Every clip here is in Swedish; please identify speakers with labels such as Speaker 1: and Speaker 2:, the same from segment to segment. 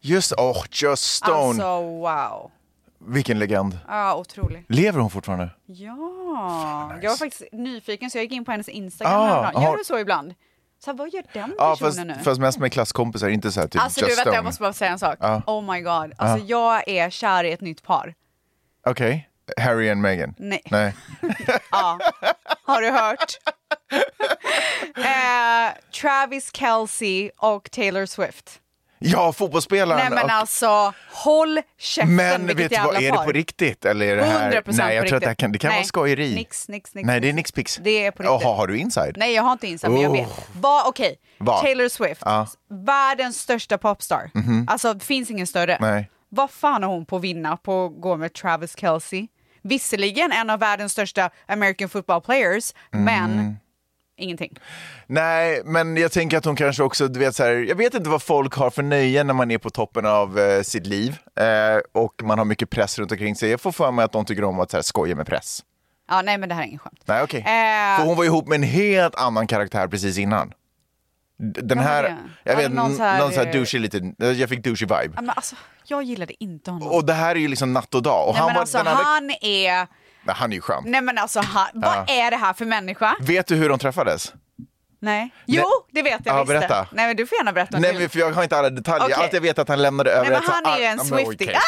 Speaker 1: Just, oh, Just Ah, Stone.
Speaker 2: Alltså wow.
Speaker 1: Vilken legend.
Speaker 2: Ja, otrolig.
Speaker 1: Lever hon fortfarande?
Speaker 2: Ja. Jag var faktiskt nyfiken så jag gick in på hennes Instagram
Speaker 1: Ah,
Speaker 2: häromdagen. Gör
Speaker 1: har-
Speaker 2: du så ibland? Så här, vad gör den personen
Speaker 1: Ja, fast,
Speaker 2: nu?
Speaker 1: fast mest med klasskompisar, inte så här typ
Speaker 2: Alltså
Speaker 1: Just
Speaker 2: du, vänta,
Speaker 1: Stone. Ah.
Speaker 2: jag måste bara säga en sak.
Speaker 1: Ja.
Speaker 2: Oh my god. Alltså jag är kär i ett nytt par.
Speaker 1: Okej, Harry and Meghan.
Speaker 2: Nej.
Speaker 1: Nej.
Speaker 2: Har du hört? eh, Travis Kelce och Taylor Swift.
Speaker 1: Ja, fotbollsspelaren.
Speaker 2: Nej men
Speaker 1: och-
Speaker 2: alltså, håll käften
Speaker 1: men
Speaker 2: vilket
Speaker 1: vet du
Speaker 2: jävla
Speaker 1: vad, är det
Speaker 2: par.
Speaker 1: på riktigt? Eller är det här...
Speaker 2: 100%
Speaker 1: Nej, jag
Speaker 2: på
Speaker 1: tror att det, här
Speaker 2: riktigt.
Speaker 1: kan, det kan
Speaker 2: Nej.
Speaker 1: vara skojeri.
Speaker 2: Nix, nix, nix,
Speaker 1: Nej, det är
Speaker 2: nix.
Speaker 1: nixpix.
Speaker 2: Det är på riktigt.
Speaker 1: Jaha, har du inside?
Speaker 2: Nej jag har inte Insta men jag vet.
Speaker 1: Oh.
Speaker 2: Va, okej,
Speaker 1: Vad?
Speaker 2: Taylor Swift,
Speaker 1: Ja. Mhm.
Speaker 2: världens största popstar. Alltså det finns ingen större.
Speaker 1: Nej.
Speaker 2: Vad fan har hon på att vinna på att gå med Travis Kelce? Visserligen en av världens största American football players,
Speaker 1: Mm.
Speaker 2: men ingenting.
Speaker 1: Nej, men jag tänker att hon kanske också, du vet så här, jag vet inte vad folk har för nöje när man är på toppen av eh, sitt liv eh, och man har mycket press runt omkring sig. Jag får för mig att de tycker om att så här, skoja med press.
Speaker 2: Ja, nej men det här är ingen skämt.
Speaker 1: Nej, okej.
Speaker 2: Eh.
Speaker 1: För hon var ihop med en helt annan karaktär precis innan. D- Den
Speaker 2: Ja,
Speaker 1: här,
Speaker 2: det.
Speaker 1: jag
Speaker 2: Ja,
Speaker 1: vet,
Speaker 2: någon
Speaker 1: någon
Speaker 2: så här- eh,
Speaker 1: sån här douchey lite, jag fick douchey vibe.
Speaker 2: Ja, Men alltså, jag gillade inte honom.
Speaker 1: Och det här är ju liksom natt och dag. Och
Speaker 2: nej,
Speaker 1: han
Speaker 2: men
Speaker 1: var
Speaker 2: alltså,
Speaker 1: den andra...
Speaker 2: han är...
Speaker 1: Nej, han är ju skön.
Speaker 2: Nej men alltså, han... vad är det här för människa?
Speaker 1: Vet du hur de träffades?
Speaker 2: Nej. Jo, det vet jag
Speaker 1: Ja,
Speaker 2: visst det.
Speaker 1: berätta.
Speaker 2: Nej men du får gärna berätta. om
Speaker 1: Nej,
Speaker 2: du
Speaker 1: men
Speaker 2: vill.
Speaker 1: för jag har inte alla detaljer.
Speaker 2: Okej.
Speaker 1: Allt jag vet är att han lämnade över
Speaker 2: Nej men
Speaker 1: ett så-
Speaker 2: han är ju
Speaker 1: Ah,
Speaker 2: en
Speaker 1: men
Speaker 2: Swiftie.
Speaker 1: okej.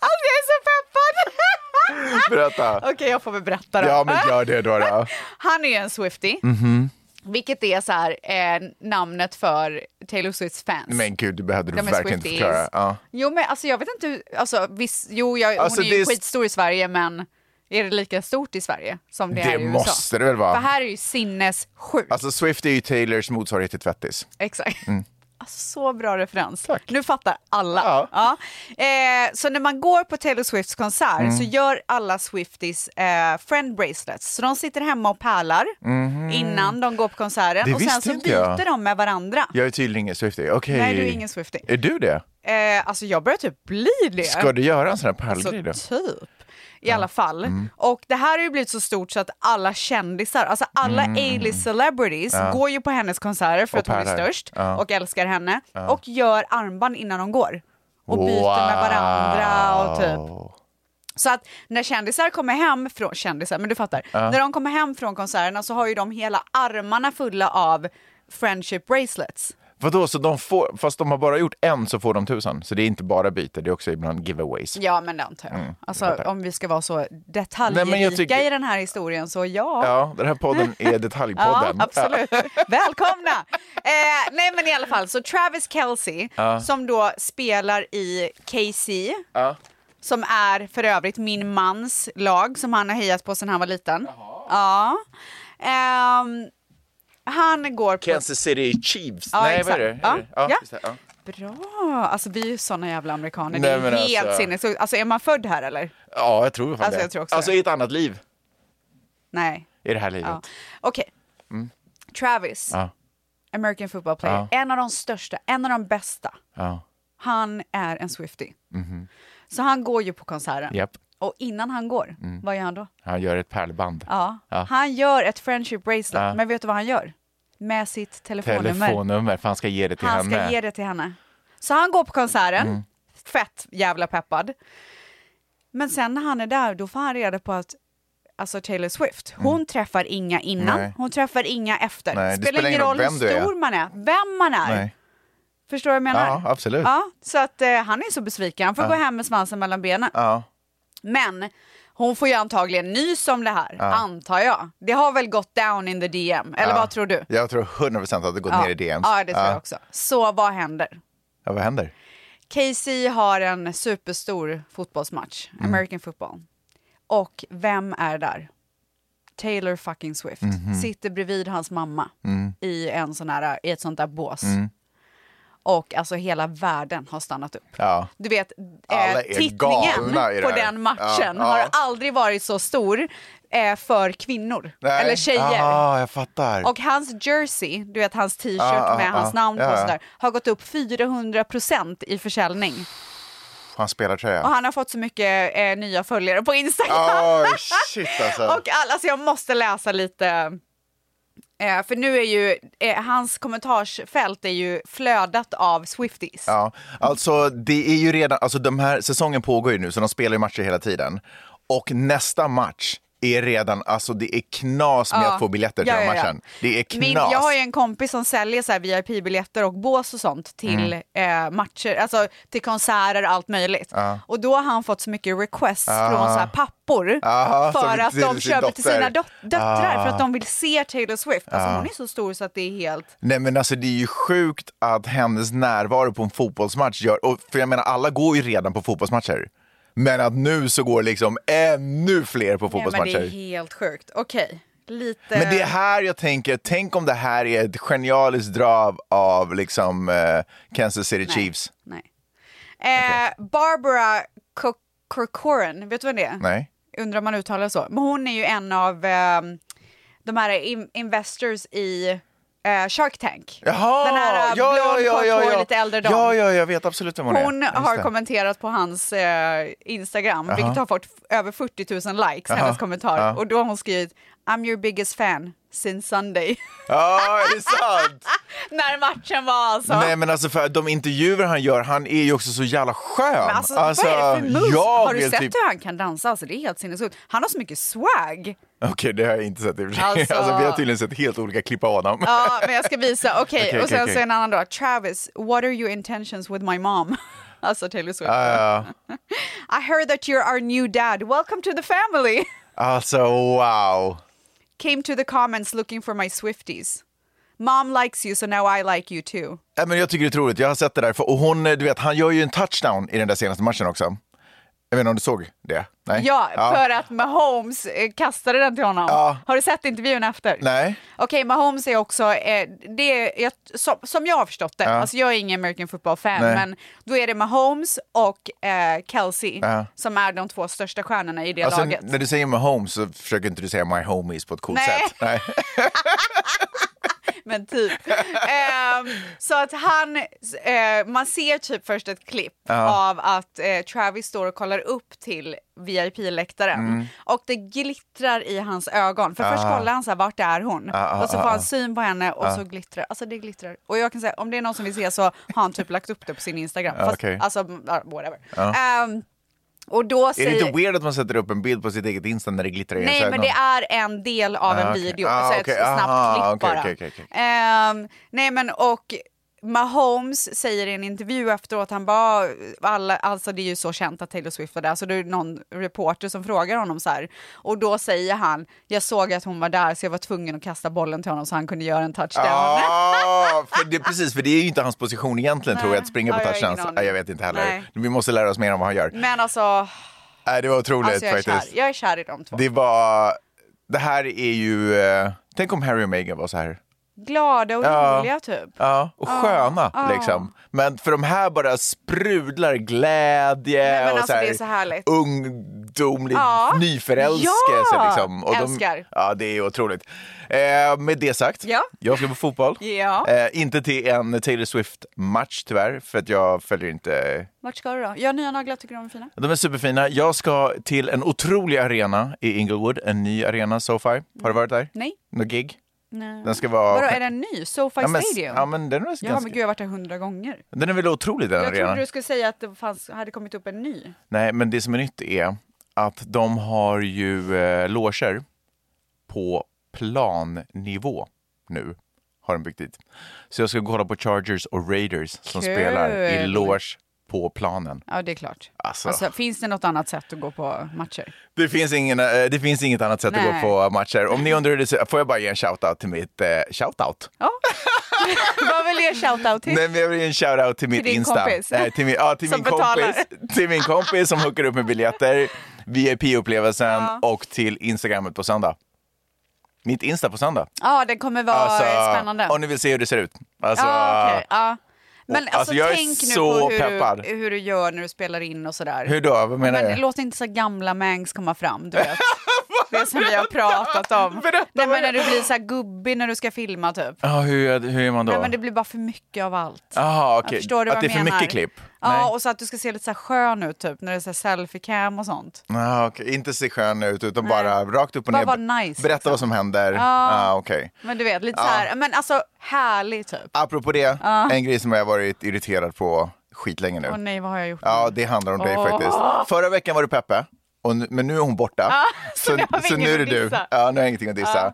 Speaker 2: Alltså jag är så peppad!
Speaker 1: Berätta.
Speaker 2: Okej jag får väl berätta då.
Speaker 1: Ja, men Mhm. gör det då. då.
Speaker 2: Han är ju en Swiftie. Vilket är så här, eh, namnet för Taylor Swifts fans.
Speaker 1: Men gud, det behövde du
Speaker 2: De är
Speaker 1: verkligen inte
Speaker 2: Swifties.
Speaker 1: förklara. Ja.
Speaker 2: Jo men alltså jag vet inte hur, alltså viss, jo jag,
Speaker 1: Alltså,
Speaker 2: hon är ju
Speaker 1: det är-
Speaker 2: skitstor i Sverige men är det lika stort i Sverige som det,
Speaker 1: Det
Speaker 2: är i USA?
Speaker 1: måste det väl vara.
Speaker 2: För här är ju sinnessjukt.
Speaker 1: Alltså Swift är ju Taylors motsvarighet till tvättis.
Speaker 2: Exakt.
Speaker 1: Mm.
Speaker 2: Alltså, så bra referens. Nu fattar alla.
Speaker 1: Ja.
Speaker 2: Eh, så när man går på Taylor Swifts konsert så
Speaker 1: Mm.
Speaker 2: gör alla Swifties eh, friend bracelets. Så de sitter hemma och pärlar innan de går på konserten
Speaker 1: Mhm. Det
Speaker 2: och sen
Speaker 1: visste
Speaker 2: så
Speaker 1: inte
Speaker 2: byter
Speaker 1: jag.
Speaker 2: de med varandra.
Speaker 1: Jag är tydligen ingen Swiftie. Okej.
Speaker 2: Nej, du är ingen Swiftie.
Speaker 1: Är du det?
Speaker 2: Eh, alltså jag börjar typ bli det.
Speaker 1: Ska du göra en sån här pärlgrej då?
Speaker 2: Alltså, typ. I alla fall.
Speaker 1: Mm.
Speaker 2: Och det här har ju blivit så stort så att alla kändisar, alltså alla A-list celebrities går ju på hennes konserter för
Speaker 1: Mm. Och
Speaker 2: att hon är
Speaker 1: pärlar.
Speaker 2: störst
Speaker 1: Ja.
Speaker 2: och älskar henne och gör armband innan de går. Och byter med varandra och typ.
Speaker 1: Wow.
Speaker 2: Så att när kändisar kommer hem från, kändisar, men du fattar. När de kommer hem från konserterna så har ju de hela armarna fulla av friendship bracelets.
Speaker 1: Vadå, så de får, fast de har bara gjort en så får de tusen? Så det är inte bara byte, det är också ibland giveaways.
Speaker 2: Ja men det antar jag. alltså om vi ska vara så detaljrika
Speaker 1: Mm, Nej, men jag tycker-
Speaker 2: i den här historien så ja.
Speaker 1: Ja, den här podden är Detaljpodden.
Speaker 2: Ja, absolut. Välkomna! Eh, nej, men i alla fall, så Travis Kelce som då spelar i KC, som är för övrigt min mans lag som han har hejat på sedan han var liten. Ja. Ehm, han går på...
Speaker 1: Kansas City Chiefs.
Speaker 2: Ja,
Speaker 1: Nej,
Speaker 2: exakt.
Speaker 1: vad är det?
Speaker 2: Ja,
Speaker 1: Är det? Ja,
Speaker 2: ja.
Speaker 1: just det, ja.
Speaker 2: Bra! Alltså vi är ju såna jävla amerikaner.
Speaker 1: Nej,
Speaker 2: det är
Speaker 1: men
Speaker 2: helt
Speaker 1: alltså-
Speaker 2: sinnessjukt. Alltså är man född här eller?
Speaker 1: ja, jag tror fan
Speaker 2: Alltså,
Speaker 1: det.
Speaker 2: jag tror också
Speaker 1: alltså
Speaker 2: det.
Speaker 1: i ett annat liv,
Speaker 2: Nej.
Speaker 1: i det här livet.
Speaker 2: Ja. Okej. Travis,
Speaker 1: Mm. Ja.
Speaker 2: American football player, en av de största, en av de bästa.
Speaker 1: Ja.
Speaker 2: Han är en Swiftie. Så han går ju på konserten.
Speaker 1: Mhm. Japp.
Speaker 2: Och innan han går, vad gör han då?
Speaker 1: Han gör ett pärlband.
Speaker 2: Ja.
Speaker 1: Ja.
Speaker 2: Han gör ett friendship bracelet,
Speaker 1: Ja.
Speaker 2: men vet du vad han gör? Med sitt telefonnummer.
Speaker 1: Telefonnummer, för han ska ge det till
Speaker 2: han
Speaker 1: henne. Mm.
Speaker 2: ska ge det till henne. Så han går på konserten, fett jävla peppad. Men sen när han är där, då får han reda på att Alltså Taylor Swift, hon träffar inga innan,
Speaker 1: Mm. Nej.
Speaker 2: hon träffar inga efter.
Speaker 1: Nej, det
Speaker 2: spelar
Speaker 1: spelar
Speaker 2: ingen
Speaker 1: ingen
Speaker 2: roll
Speaker 1: roll
Speaker 2: hur
Speaker 1: vem du är.
Speaker 2: stor man är, vem man är.
Speaker 1: Nej.
Speaker 2: Förstår du vad jag menar?
Speaker 1: Ja, absolut.
Speaker 2: Ja, så att eh, han är så besviken. Han får gå hem med svansen mellan benen.
Speaker 1: Ja.
Speaker 2: Men hon får ju antagligen nys om det här, antar jag. Det har väl gått down in the DM, eller vad tror du?
Speaker 1: Jag tror 100 procent att det gått ner i DMs.
Speaker 2: Ja, det tror jag också. Så vad händer?
Speaker 1: Ja, vad händer?
Speaker 2: Casey har en
Speaker 1: Mm.
Speaker 2: superstor fotbollsmatch, American football. Och vem är där? Taylor fucking Swift
Speaker 1: Mhm.
Speaker 2: sitter bredvid hans mamma
Speaker 1: Mm.
Speaker 2: i, en sån här, i ett sånt där bås. Och alltså hela världen har stannat upp.
Speaker 1: Ja.
Speaker 2: Du vet, eh,
Speaker 1: Alla är
Speaker 2: tittningen
Speaker 1: galna i det
Speaker 2: på
Speaker 1: här.
Speaker 2: den matchen
Speaker 1: Ja,
Speaker 2: har
Speaker 1: ja.
Speaker 2: aldrig varit så stor eh, för kvinnor
Speaker 1: Nej.
Speaker 2: eller tjejer.
Speaker 1: Ah, jag fattar.
Speaker 2: Och hans jersey, du vet hans t-shirt
Speaker 1: Ja, ja,
Speaker 2: med hans
Speaker 1: ja.
Speaker 2: namn på
Speaker 1: Ah, Ja,
Speaker 2: och
Speaker 1: ja.
Speaker 2: sådär, har gått upp 400 procent i försäljning.
Speaker 1: Han spelar
Speaker 2: Och
Speaker 1: tröja.
Speaker 2: han har fått så mycket eh, nya följare på Instagram.
Speaker 1: Oj, shit alltså.
Speaker 2: Och alla, alltså jag måste läsa lite. Eh, för nu är ju, eh, hans kommentarsfält är ju flödat av Swifties.
Speaker 1: Ja, alltså det är ju redan, alltså de här, säsongen pågår ju nu så de spelar ju matcher hela tiden. Och nästa match är redan, alltså det är knas med
Speaker 2: Ja.
Speaker 1: att få biljetter till
Speaker 2: Ja,
Speaker 1: den
Speaker 2: ja, ja.
Speaker 1: matchen. Det är knas.
Speaker 2: Min, jag har ju en kompis som säljer så här VIP-biljetter och bås och sånt
Speaker 1: Mm.
Speaker 2: till eh, matcher, alltså till konserter och allt möjligt. Och då har han fått så mycket requests från så här pappor
Speaker 1: Ja, som
Speaker 2: för
Speaker 1: till
Speaker 2: att de
Speaker 1: sin
Speaker 2: köper till
Speaker 1: dotter.
Speaker 2: sina dot- döttrar för att de vill se Taylor Swift. Alltså hon är så stor så att det är helt...
Speaker 1: Nej men alltså det är ju sjukt att hennes närvaro på en fotbollsmatch gör, och för jag menar alla går ju redan på fotbollsmatcher. Men att nu så går liksom ännu fler på
Speaker 2: Nej, men
Speaker 1: fotbollsmatcher.
Speaker 2: det är helt sjukt. Okej, lite...
Speaker 1: Men det är här jag tänker, tänk om det här är ett genialiskt drag av liksom eh, Kansas City Chiefs.
Speaker 2: Nej. Eh, Barbara Co- Corcoran, vet du vem det är?
Speaker 1: Nej.
Speaker 2: Undrar om man uttalar så. Men hon är ju en av ehm, de här in- investors i eh, Shark Tank.
Speaker 1: Jaha!
Speaker 2: Den här eh, blond, kort hår, lite äldre dam.
Speaker 1: Ja, ja, jag vet absolut vem hon,
Speaker 2: Hon
Speaker 1: är. Just
Speaker 2: har
Speaker 1: det.
Speaker 2: kommenterat på hans eh, Instagram, vilket har fått f- över 40 000 likes, hennes kommentar.
Speaker 1: Ja.
Speaker 2: Och då har hon skrivit I'm your biggest fan since Sunday.
Speaker 1: Ja, är det sant?
Speaker 2: När matchen var alltså.
Speaker 1: Nej, men alltså för de intervjuer han gör, han är ju också så jävla skön.
Speaker 2: Men alltså, vad är det för moves?
Speaker 1: jag
Speaker 2: Har du
Speaker 1: vill
Speaker 2: sett
Speaker 1: typ-
Speaker 2: hur han kan dansa? Alltså, det är helt sinnessjukt. Han har så mycket swag.
Speaker 1: Okej, det har jag inte sett i och för sig.
Speaker 2: Alltså-
Speaker 1: Alltså... vi har tydligen sett helt olika klipp av honom.
Speaker 2: Ja, men jag ska visa. Okej,
Speaker 1: Okej,
Speaker 2: och sen
Speaker 1: okej, okej.
Speaker 2: så en annan då. Travis, what are your intentions with my mom? alltså Taylor Swift.
Speaker 1: Ja,
Speaker 2: I heard that you're our new dad. Welcome to the family.
Speaker 1: alltså, wow.
Speaker 2: Came to the comments looking for my Swifties. Mom likes you, so now I like you too.
Speaker 1: Nej, men jag tycker det är otroligt. Jag har sett det där. För, och hon, eh, du vet, han gör ju en touchdown i den där senaste matchen också. Jag vet inte om du såg det? Nej.
Speaker 2: Ja, för att Mahomes eh, kastade den till honom. Har du sett intervjun efter?
Speaker 1: Nej.
Speaker 2: Okej, Mahomes är också, eh, det är, jag, som, som jag har förstått det, alltså jag är ingen American football-fan,
Speaker 1: Nej.
Speaker 2: men då är det Mahomes och eh, Kelsey
Speaker 1: Ja.
Speaker 2: som är de två största stjärnorna i det
Speaker 1: Alltså,
Speaker 2: laget.
Speaker 1: när du säger med home så försöker inte du säga my homies på ett coolt
Speaker 2: Nej.
Speaker 1: sätt. Nej.
Speaker 2: Men typ. Ehm, så att han, eh, man ser typ först ett klipp av att eh, Travis står och kollar upp till VIP-läktaren
Speaker 1: Mm.
Speaker 2: och det glittrar i hans ögon. För först
Speaker 1: Ah.
Speaker 2: kollar han så här, vart är hon? och så får han syn på henne och så glittrar Alltså det glittrar. Och jag kan säga, om det är någon som vill se så har han typ lagt upp det på sin Instagram. Fast,
Speaker 1: Ah, okej. Ah.
Speaker 2: Alltså, ja, whatever. Ehm, och då
Speaker 1: Är
Speaker 2: säger...
Speaker 1: det inte weird att man sätter upp en bild på sitt eget Insta när det glittrar i ens
Speaker 2: Nej, men
Speaker 1: ögon?
Speaker 2: det är en del av en
Speaker 1: Ah, okej.
Speaker 2: video.
Speaker 1: Ah,
Speaker 2: alltså
Speaker 1: okej.
Speaker 2: ett snabbt
Speaker 1: Aha,
Speaker 2: klipp
Speaker 1: okej,
Speaker 2: bara.
Speaker 1: okej, okej, okej.
Speaker 2: Ehm, nej, men och Mahomes säger i en intervju efteråt, han bara, alla, alltså det är ju så känt att Taylor Swift var där, så det är någon reporter som frågar honom så här. Och då säger han, jag såg att hon var där så jag var tvungen att kasta bollen till honom så han kunde göra en touchdown.
Speaker 1: Ah. Ja, för det, precis, för det är ju inte hans position egentligen tror jag, att springa
Speaker 2: Ja,
Speaker 1: på
Speaker 2: jag har
Speaker 1: touchdowns.
Speaker 2: ingen aning.
Speaker 1: Ja, jag vet inte heller.
Speaker 2: Nej.
Speaker 1: Vi måste lära oss mer om vad han gör.
Speaker 2: Men alltså,
Speaker 1: Nej, det var otroligt
Speaker 2: alltså jag, är kär,
Speaker 1: faktiskt.
Speaker 2: jag är kär i de två.
Speaker 1: Det var... Det här är ju... eh, Tänk om Harry och Meghan var så här.
Speaker 2: Glada och
Speaker 1: Ja.
Speaker 2: roliga typ.
Speaker 1: Ja, och sköna
Speaker 2: ja.
Speaker 1: liksom. Men för de här bara sprudlar glädje
Speaker 2: Nej, men
Speaker 1: och
Speaker 2: alltså,
Speaker 1: så här,
Speaker 2: det är så härligt.
Speaker 1: ungdomlig
Speaker 2: Ja.
Speaker 1: nyförälskelse.
Speaker 2: Ja,
Speaker 1: liksom. och
Speaker 2: älskar.
Speaker 1: De, ja, det är otroligt. Eh, med det sagt,
Speaker 2: Ja.
Speaker 1: jag ska på fotboll.
Speaker 2: Ja.
Speaker 1: Eh, inte till en Taylor Swift-match tyvärr, för att jag följer inte
Speaker 2: Vart ska du då? Gör nya naglar, tycker du de är fina?
Speaker 1: de är superfina. Jag ska till en otrolig arena i Inglewood, en ny arena, SoFi. Har du varit där?
Speaker 2: Nej.
Speaker 1: Något gig?
Speaker 2: Nej.
Speaker 1: Den ska vara...
Speaker 2: Vadå, är den ny? SoFi
Speaker 1: ja, men,
Speaker 2: Stadium?
Speaker 1: ja, men den,
Speaker 2: Ja,
Speaker 1: är ganska...
Speaker 2: men gud, jag har varit där hundra gånger.
Speaker 1: den är väl otrolig den
Speaker 2: Jag
Speaker 1: arenan?
Speaker 2: trodde du skulle säga att det fanns, hade kommit upp en ny.
Speaker 1: Nej, men det som är nytt är att de har ju eh, loger på plannivå nu, har de byggt dit. Så jag ska kolla på Chargers och Raiders som
Speaker 2: Kul.
Speaker 1: spelar i loge på planen.
Speaker 2: Ja, det är klart.
Speaker 1: Alltså.
Speaker 2: Alltså, finns det något annat sätt att gå på matcher?
Speaker 1: Det finns, ingen, eh, det finns inget annat sätt
Speaker 2: Nej.
Speaker 1: att gå på matcher. Om ni undrar hur det ser- får jag bara ge en shout-out till mitt... Eh, shout-out?
Speaker 2: Ja. Vad vill du ge shoutout till?
Speaker 1: Nej, men jag vill ge en shout-out till mitt
Speaker 2: din
Speaker 1: Insta.
Speaker 2: kompis.
Speaker 1: Nej, till min, ja, till
Speaker 2: Som
Speaker 1: min
Speaker 2: betalar.
Speaker 1: kompis. Till min kompis som hookar upp med biljetter, VIP-upplevelsen och till Instagrammet på söndag. Mitt Insta på söndag. Alltså,
Speaker 2: Ja, den kommer vara eh, spännande.
Speaker 1: Om ni vill se hur det ser ut. Alltså,
Speaker 2: ja, okej. ja. Men
Speaker 1: Och-
Speaker 2: alltså,
Speaker 1: alltså, jag är
Speaker 2: tänk nu
Speaker 1: så
Speaker 2: på hur
Speaker 1: peppad.
Speaker 2: du, hur du gör när du spelar in och sådär.
Speaker 1: Hur då? Vad menar
Speaker 2: Men
Speaker 1: du?
Speaker 2: låt inte så gamla mängs komma fram, du vet. Det som vi har pratat om.
Speaker 1: Berätta
Speaker 2: Nej,
Speaker 1: vad Alltså.
Speaker 2: men när du blir så här gubbig när du ska filma typ.
Speaker 1: Ja, hur, hur är man då?
Speaker 2: Nej, men det blir bara för mycket av allt.
Speaker 1: Jaha,
Speaker 2: Jag
Speaker 1: okej.
Speaker 2: Förstår du
Speaker 1: Att
Speaker 2: vad
Speaker 1: det är
Speaker 2: jag
Speaker 1: för
Speaker 2: menar?
Speaker 1: mycket klipp?
Speaker 2: Ja,
Speaker 1: Nej.
Speaker 2: och så att du ska se lite så här skön ut typ, när det är så här selfie-cam och sånt.
Speaker 1: Ah, okej. Inte se skön ut, utan bara rakt upp och
Speaker 2: Bara
Speaker 1: ner.
Speaker 2: vara nice,
Speaker 1: Berätta
Speaker 2: liksom.
Speaker 1: vad som händer.
Speaker 2: Ja.
Speaker 1: Ah, okej.
Speaker 2: Men du vet, lite så här, men alltså härlig typ.
Speaker 1: Apropå det, en grej som jag har varit irriterad på skitlänge nu.
Speaker 2: Åh nej, vad har jag gjort
Speaker 1: Ja,
Speaker 2: nu?
Speaker 1: det handlar om dig faktiskt. Förra veckan var du Peppe, och nu, men nu är hon borta.
Speaker 2: Ah, så nu har vi
Speaker 1: så
Speaker 2: ingen
Speaker 1: nu är det
Speaker 2: att
Speaker 1: du.
Speaker 2: dissa. Ah.
Speaker 1: Ja, nu har jag ingenting att dissa.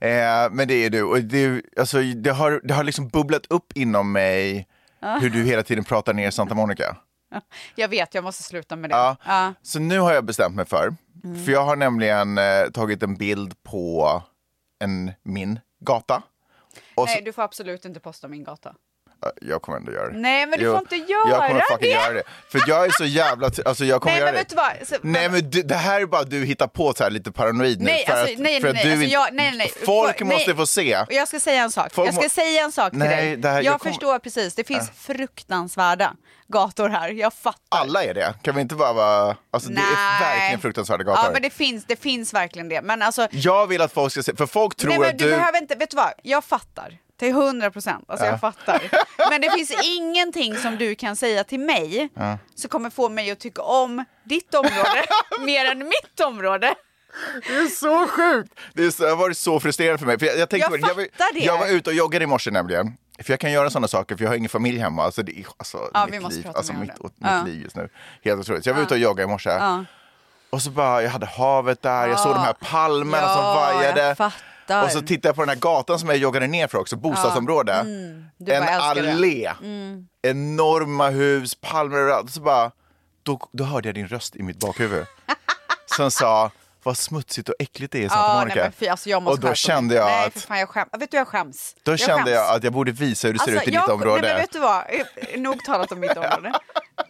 Speaker 1: Eh, men det är du. Och det, alltså, det, har, det har liksom bubblat upp inom mig
Speaker 2: Ah.
Speaker 1: hur du hela tiden pratar ner Santa Monica.
Speaker 2: Jag vet, jag måste sluta med det.
Speaker 1: Ja.
Speaker 2: Ja.
Speaker 1: Så nu har jag bestämt mig för,
Speaker 2: Mm.
Speaker 1: för jag har nämligen eh, tagit en bild på en, min gata. Och så,
Speaker 2: Nej, du får absolut inte posta min gata.
Speaker 1: Äh, Jag kommer ändå göra det.
Speaker 2: Nej, men du får inte göra
Speaker 1: Jag kommer fucking
Speaker 2: det.
Speaker 1: göra det. För jag är så jävla... t- Alltså jag kommer
Speaker 2: Nej,
Speaker 1: göra
Speaker 2: men vet
Speaker 1: det.
Speaker 2: du vad? Så-
Speaker 1: nej, men du, det här är bara du hittar på så här lite paranoid nu.
Speaker 2: Nej,
Speaker 1: för
Speaker 2: alltså,
Speaker 1: att,
Speaker 2: nej,
Speaker 1: för
Speaker 2: nej, nej.
Speaker 1: att du
Speaker 2: Alltså,
Speaker 1: inte-
Speaker 2: jag, nej, nej.
Speaker 1: Folk
Speaker 2: För-
Speaker 1: måste
Speaker 2: nej.
Speaker 1: få se.
Speaker 2: Och Jag ska säga en sak.
Speaker 1: Folk
Speaker 2: jag ska
Speaker 1: må-
Speaker 2: säga en sak till
Speaker 1: Nej,
Speaker 2: dig.
Speaker 1: det här-
Speaker 2: jag
Speaker 1: jag kommer-
Speaker 2: förstår precis. Det finns fruktansvärda gator här. Jag fattar.
Speaker 1: Alla är det. Kan vi inte bara vara... Alltså det är verkligen fruktansvärda gator.
Speaker 2: Ja, men det finns, det finns verkligen det. Men alltså,
Speaker 1: Jag vill att folk ska se, för folk tror
Speaker 2: nej, men
Speaker 1: att
Speaker 2: du,
Speaker 1: du...
Speaker 2: behöver inte, vet du vad? Jag fattar. Till 100 procent. Alltså jag fattar. Men det finns ingenting som du kan säga till mig som kommer få mig att tycka om ditt område mer än mitt område.
Speaker 1: Det är så sjukt! Det, är så, det har varit så frustrerande för mig. För jag, jag,
Speaker 2: Jag
Speaker 1: tänkte på det. var-
Speaker 2: fattar det.
Speaker 1: jag var ute och joggade i morse nämligen. För jag kan göra sådana saker för jag har ingen familj hemma. Alltså, det är, alltså,
Speaker 2: Ja, vi
Speaker 1: mitt
Speaker 2: måste
Speaker 1: liv,
Speaker 2: prata
Speaker 1: alltså,
Speaker 2: mer om
Speaker 1: mitt,
Speaker 2: det.
Speaker 1: mitt
Speaker 2: Ja.
Speaker 1: liv just nu. Helt otroligt. Så jag var ute och joggade i morse. Och så bara, jag hade havet där, jag såg de här palmerna
Speaker 2: Ja,
Speaker 1: som
Speaker 2: jag
Speaker 1: vajade.
Speaker 2: fattar.
Speaker 1: Och så tittade jag på den här gatan som jag joggade ner för också, bostadsområde.
Speaker 2: Mm. Du
Speaker 1: en
Speaker 2: bara älskar det. Mm.
Speaker 1: allé, enorma hus, palmer överallt. Så bara, då, då hörde jag din röst i mitt bakhuvud som sa vad smutsigt och äckligt det är i Santa
Speaker 2: Ja, nej,
Speaker 1: Monica.
Speaker 2: men fy, alltså jag måste
Speaker 1: och då
Speaker 2: skärpa
Speaker 1: kände
Speaker 2: mig.
Speaker 1: jag
Speaker 2: Nej, för
Speaker 1: att
Speaker 2: fan, jag skäm... Vet du, jag skäms.
Speaker 1: då
Speaker 2: jag
Speaker 1: kände
Speaker 2: skäms. Alltså,
Speaker 1: jag att jag borde visa hur det ser ut i ditt
Speaker 2: jag-
Speaker 1: område.
Speaker 2: Nej, men vet du vad? Eh, Nog talat om mitt område,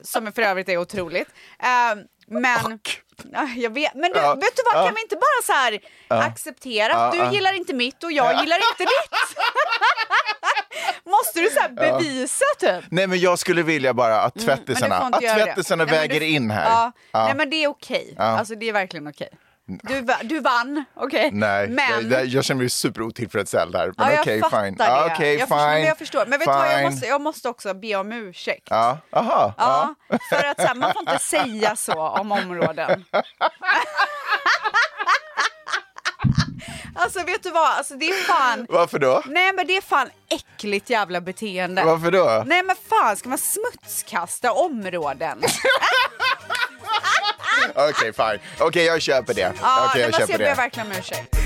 Speaker 2: som för övrigt är otroligt. Ehm, men Ja, jag vet, men du,
Speaker 1: Ja.
Speaker 2: vet du vad,
Speaker 1: Ja.
Speaker 2: kan vi inte bara så här acceptera att
Speaker 1: Ja,
Speaker 2: du
Speaker 1: ja.
Speaker 2: gillar inte mitt och jag gillar inte ditt? Måste du så här bevisa typ?
Speaker 1: Nej men jag skulle vilja bara att
Speaker 2: Mm, Men du
Speaker 1: tvättisarna,
Speaker 2: får inte
Speaker 1: att
Speaker 2: göra det.
Speaker 1: tvättisarna
Speaker 2: Nej, men
Speaker 1: väger
Speaker 2: du-
Speaker 1: in här.
Speaker 2: Ja.
Speaker 1: Ja.
Speaker 2: Nej men det är okej, alltså det är verkligen okej. Du, va- du vann, okej.
Speaker 1: Nej,
Speaker 2: men...
Speaker 1: jag, jag känner mig superotillfredsställd här. Men
Speaker 2: Ja, jag
Speaker 1: okej,
Speaker 2: fattar
Speaker 1: fine.
Speaker 2: det.
Speaker 1: Ja, okej,
Speaker 2: jag,
Speaker 1: fine.
Speaker 2: Förstår, men jag förstår. Men vet du vad, jag
Speaker 1: fine.
Speaker 2: måste, jag måste också be om ursäkt.
Speaker 1: Ja, aha.
Speaker 2: Ja, för att så här, man får inte säga så om områden. alltså vet du vad, alltså, det är fan...
Speaker 1: Varför då?
Speaker 2: Nej men det är fan äckligt jävla beteende.
Speaker 1: Varför då?
Speaker 2: Nej men fan, ska man smutskasta områden?
Speaker 1: Okej, fine. Okej, jag köper det.
Speaker 2: Ja, nej,
Speaker 1: Okej, jag
Speaker 2: men så
Speaker 1: köper
Speaker 2: jag ber
Speaker 1: det.
Speaker 2: verkligen om ursäkt.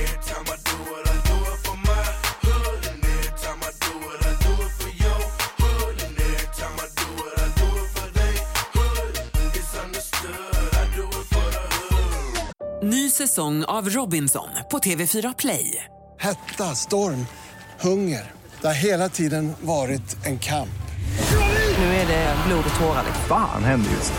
Speaker 3: Ny säsong av Robinson på TV4 Play.
Speaker 4: Hetta, storm, hunger. Det har hela tiden varit en kamp.
Speaker 3: Nu är det blod och tårar.
Speaker 5: Fan händer just det.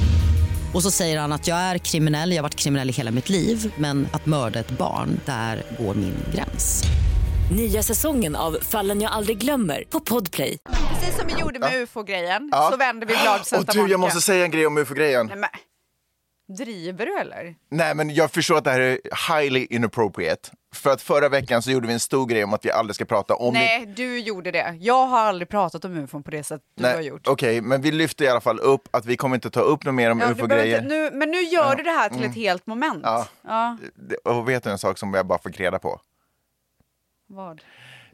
Speaker 6: Och så säger han att jag är kriminell, jag har varit kriminell i hela mitt liv men att mörda ett barn, där går min gräns.
Speaker 7: Nya säsongen av Fallen jag aldrig glömmer på Podplay.
Speaker 2: Precis som vi gjorde med ufo-grejen
Speaker 1: Ja.
Speaker 2: så vänder vi blad
Speaker 1: Och
Speaker 2: Santa
Speaker 1: du,
Speaker 2: Monica.
Speaker 1: jag måste säga en grej om ufo-grejen.
Speaker 2: Nej, men, driver du eller?
Speaker 1: Nej, men jag förstår att det här är highly inappropriate. För att förra veckan så gjorde vi en stor grej om att vi aldrig ska prata om...
Speaker 2: Nej, du gjorde det. Jag har aldrig pratat om ufon på det sätt du
Speaker 1: Nej,
Speaker 2: har gjort.
Speaker 1: Okej, men vi lyfter i alla fall upp att vi kommer inte ta upp något mer om
Speaker 2: Ja, du behöver
Speaker 1: ufo-grejer.
Speaker 2: inte, nu, men nu gör du det här till ett helt moment.
Speaker 1: Mm. Ja.
Speaker 2: Ja,
Speaker 1: Det- Och vet du en sak som jag bara fick reda på?
Speaker 2: vad?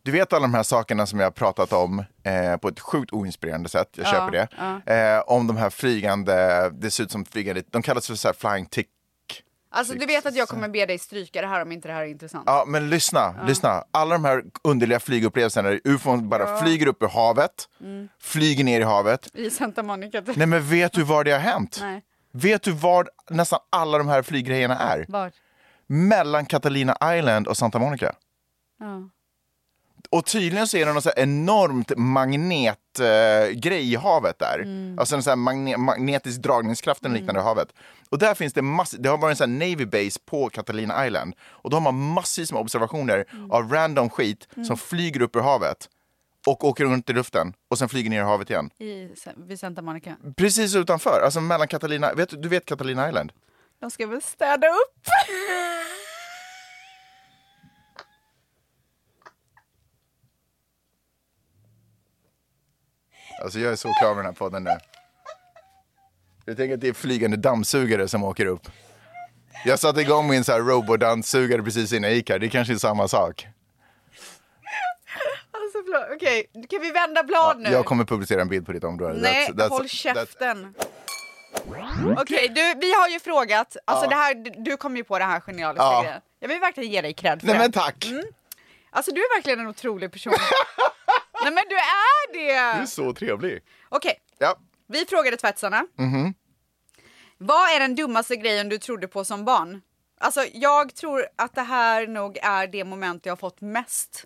Speaker 1: Du vet alla de här sakerna som jag har pratat om eh, på ett sjukt oinspirerande sätt, jag köper det. Eh, om de här flygande, det ser ut som flygande, de kallas för så här flying tick.
Speaker 2: Alltså du vet att jag kommer be dig stryka det här om inte det här är intressant.
Speaker 1: Ja, men lyssna, lyssna. Alla de här underliga flygupplevelserna där ufon bara flyger upp i havet, flyger ner i havet.
Speaker 2: I Santa Monica. typ.
Speaker 1: Nej, men vet du var det har hänt?
Speaker 2: Nej.
Speaker 1: Vet du var nästan alla de här flyggrejerna är?
Speaker 2: Var?
Speaker 1: Mellan Catalina Island och Santa Monica.
Speaker 2: Ja.
Speaker 1: Och tydligen så är det någon så här enormt magnetgrej eh, grej i havet där. Alltså en så här magne- magnetisk dragningskraft eller liknande i havet. Och där finns det massor, det har varit en sån här Navy Base på Catalina Island. Och då har man massvis med observationer av random skit som flyger upp ur havet och åker runt i luften och sen flyger ner i havet igen.
Speaker 2: I, vid Santa Monica.
Speaker 1: Precis utanför, alltså mellan Catalina, vet, du- du vet Catalina Island?
Speaker 2: De ska väl städa upp?
Speaker 1: Alltså jag är så klar med den här podden nu. Jag tänker att det är flygande dammsugare som åker upp. Jag satte igång min så här robotdammsugare precis innan jag gick här. Det kanske är samma sak.
Speaker 2: Alltså, förlåt. Okej, kan vi vända blad nu?
Speaker 1: Jag kommer publicera en bild på ditt område.
Speaker 2: Nej,
Speaker 1: That's- that's-
Speaker 2: håll
Speaker 1: that's-
Speaker 2: käften. Okej, du, vi har ju frågat. Alltså det här, du- du kom ju på det här genialiska
Speaker 1: Ja.
Speaker 2: grejen. Jag vill verkligen ge dig cred för
Speaker 1: Nej men
Speaker 2: det.
Speaker 1: tack!
Speaker 2: Alltså du är verkligen en otrolig person. Nej men du är
Speaker 1: Du är
Speaker 2: det!
Speaker 1: så trevlig.
Speaker 2: Okej,
Speaker 1: Ja.
Speaker 2: vi frågade tvättisarna.
Speaker 1: Mhm.
Speaker 2: Vad är den dummaste grejen du trodde på som barn? Alltså jag tror att det här nog är det moment jag har fått mest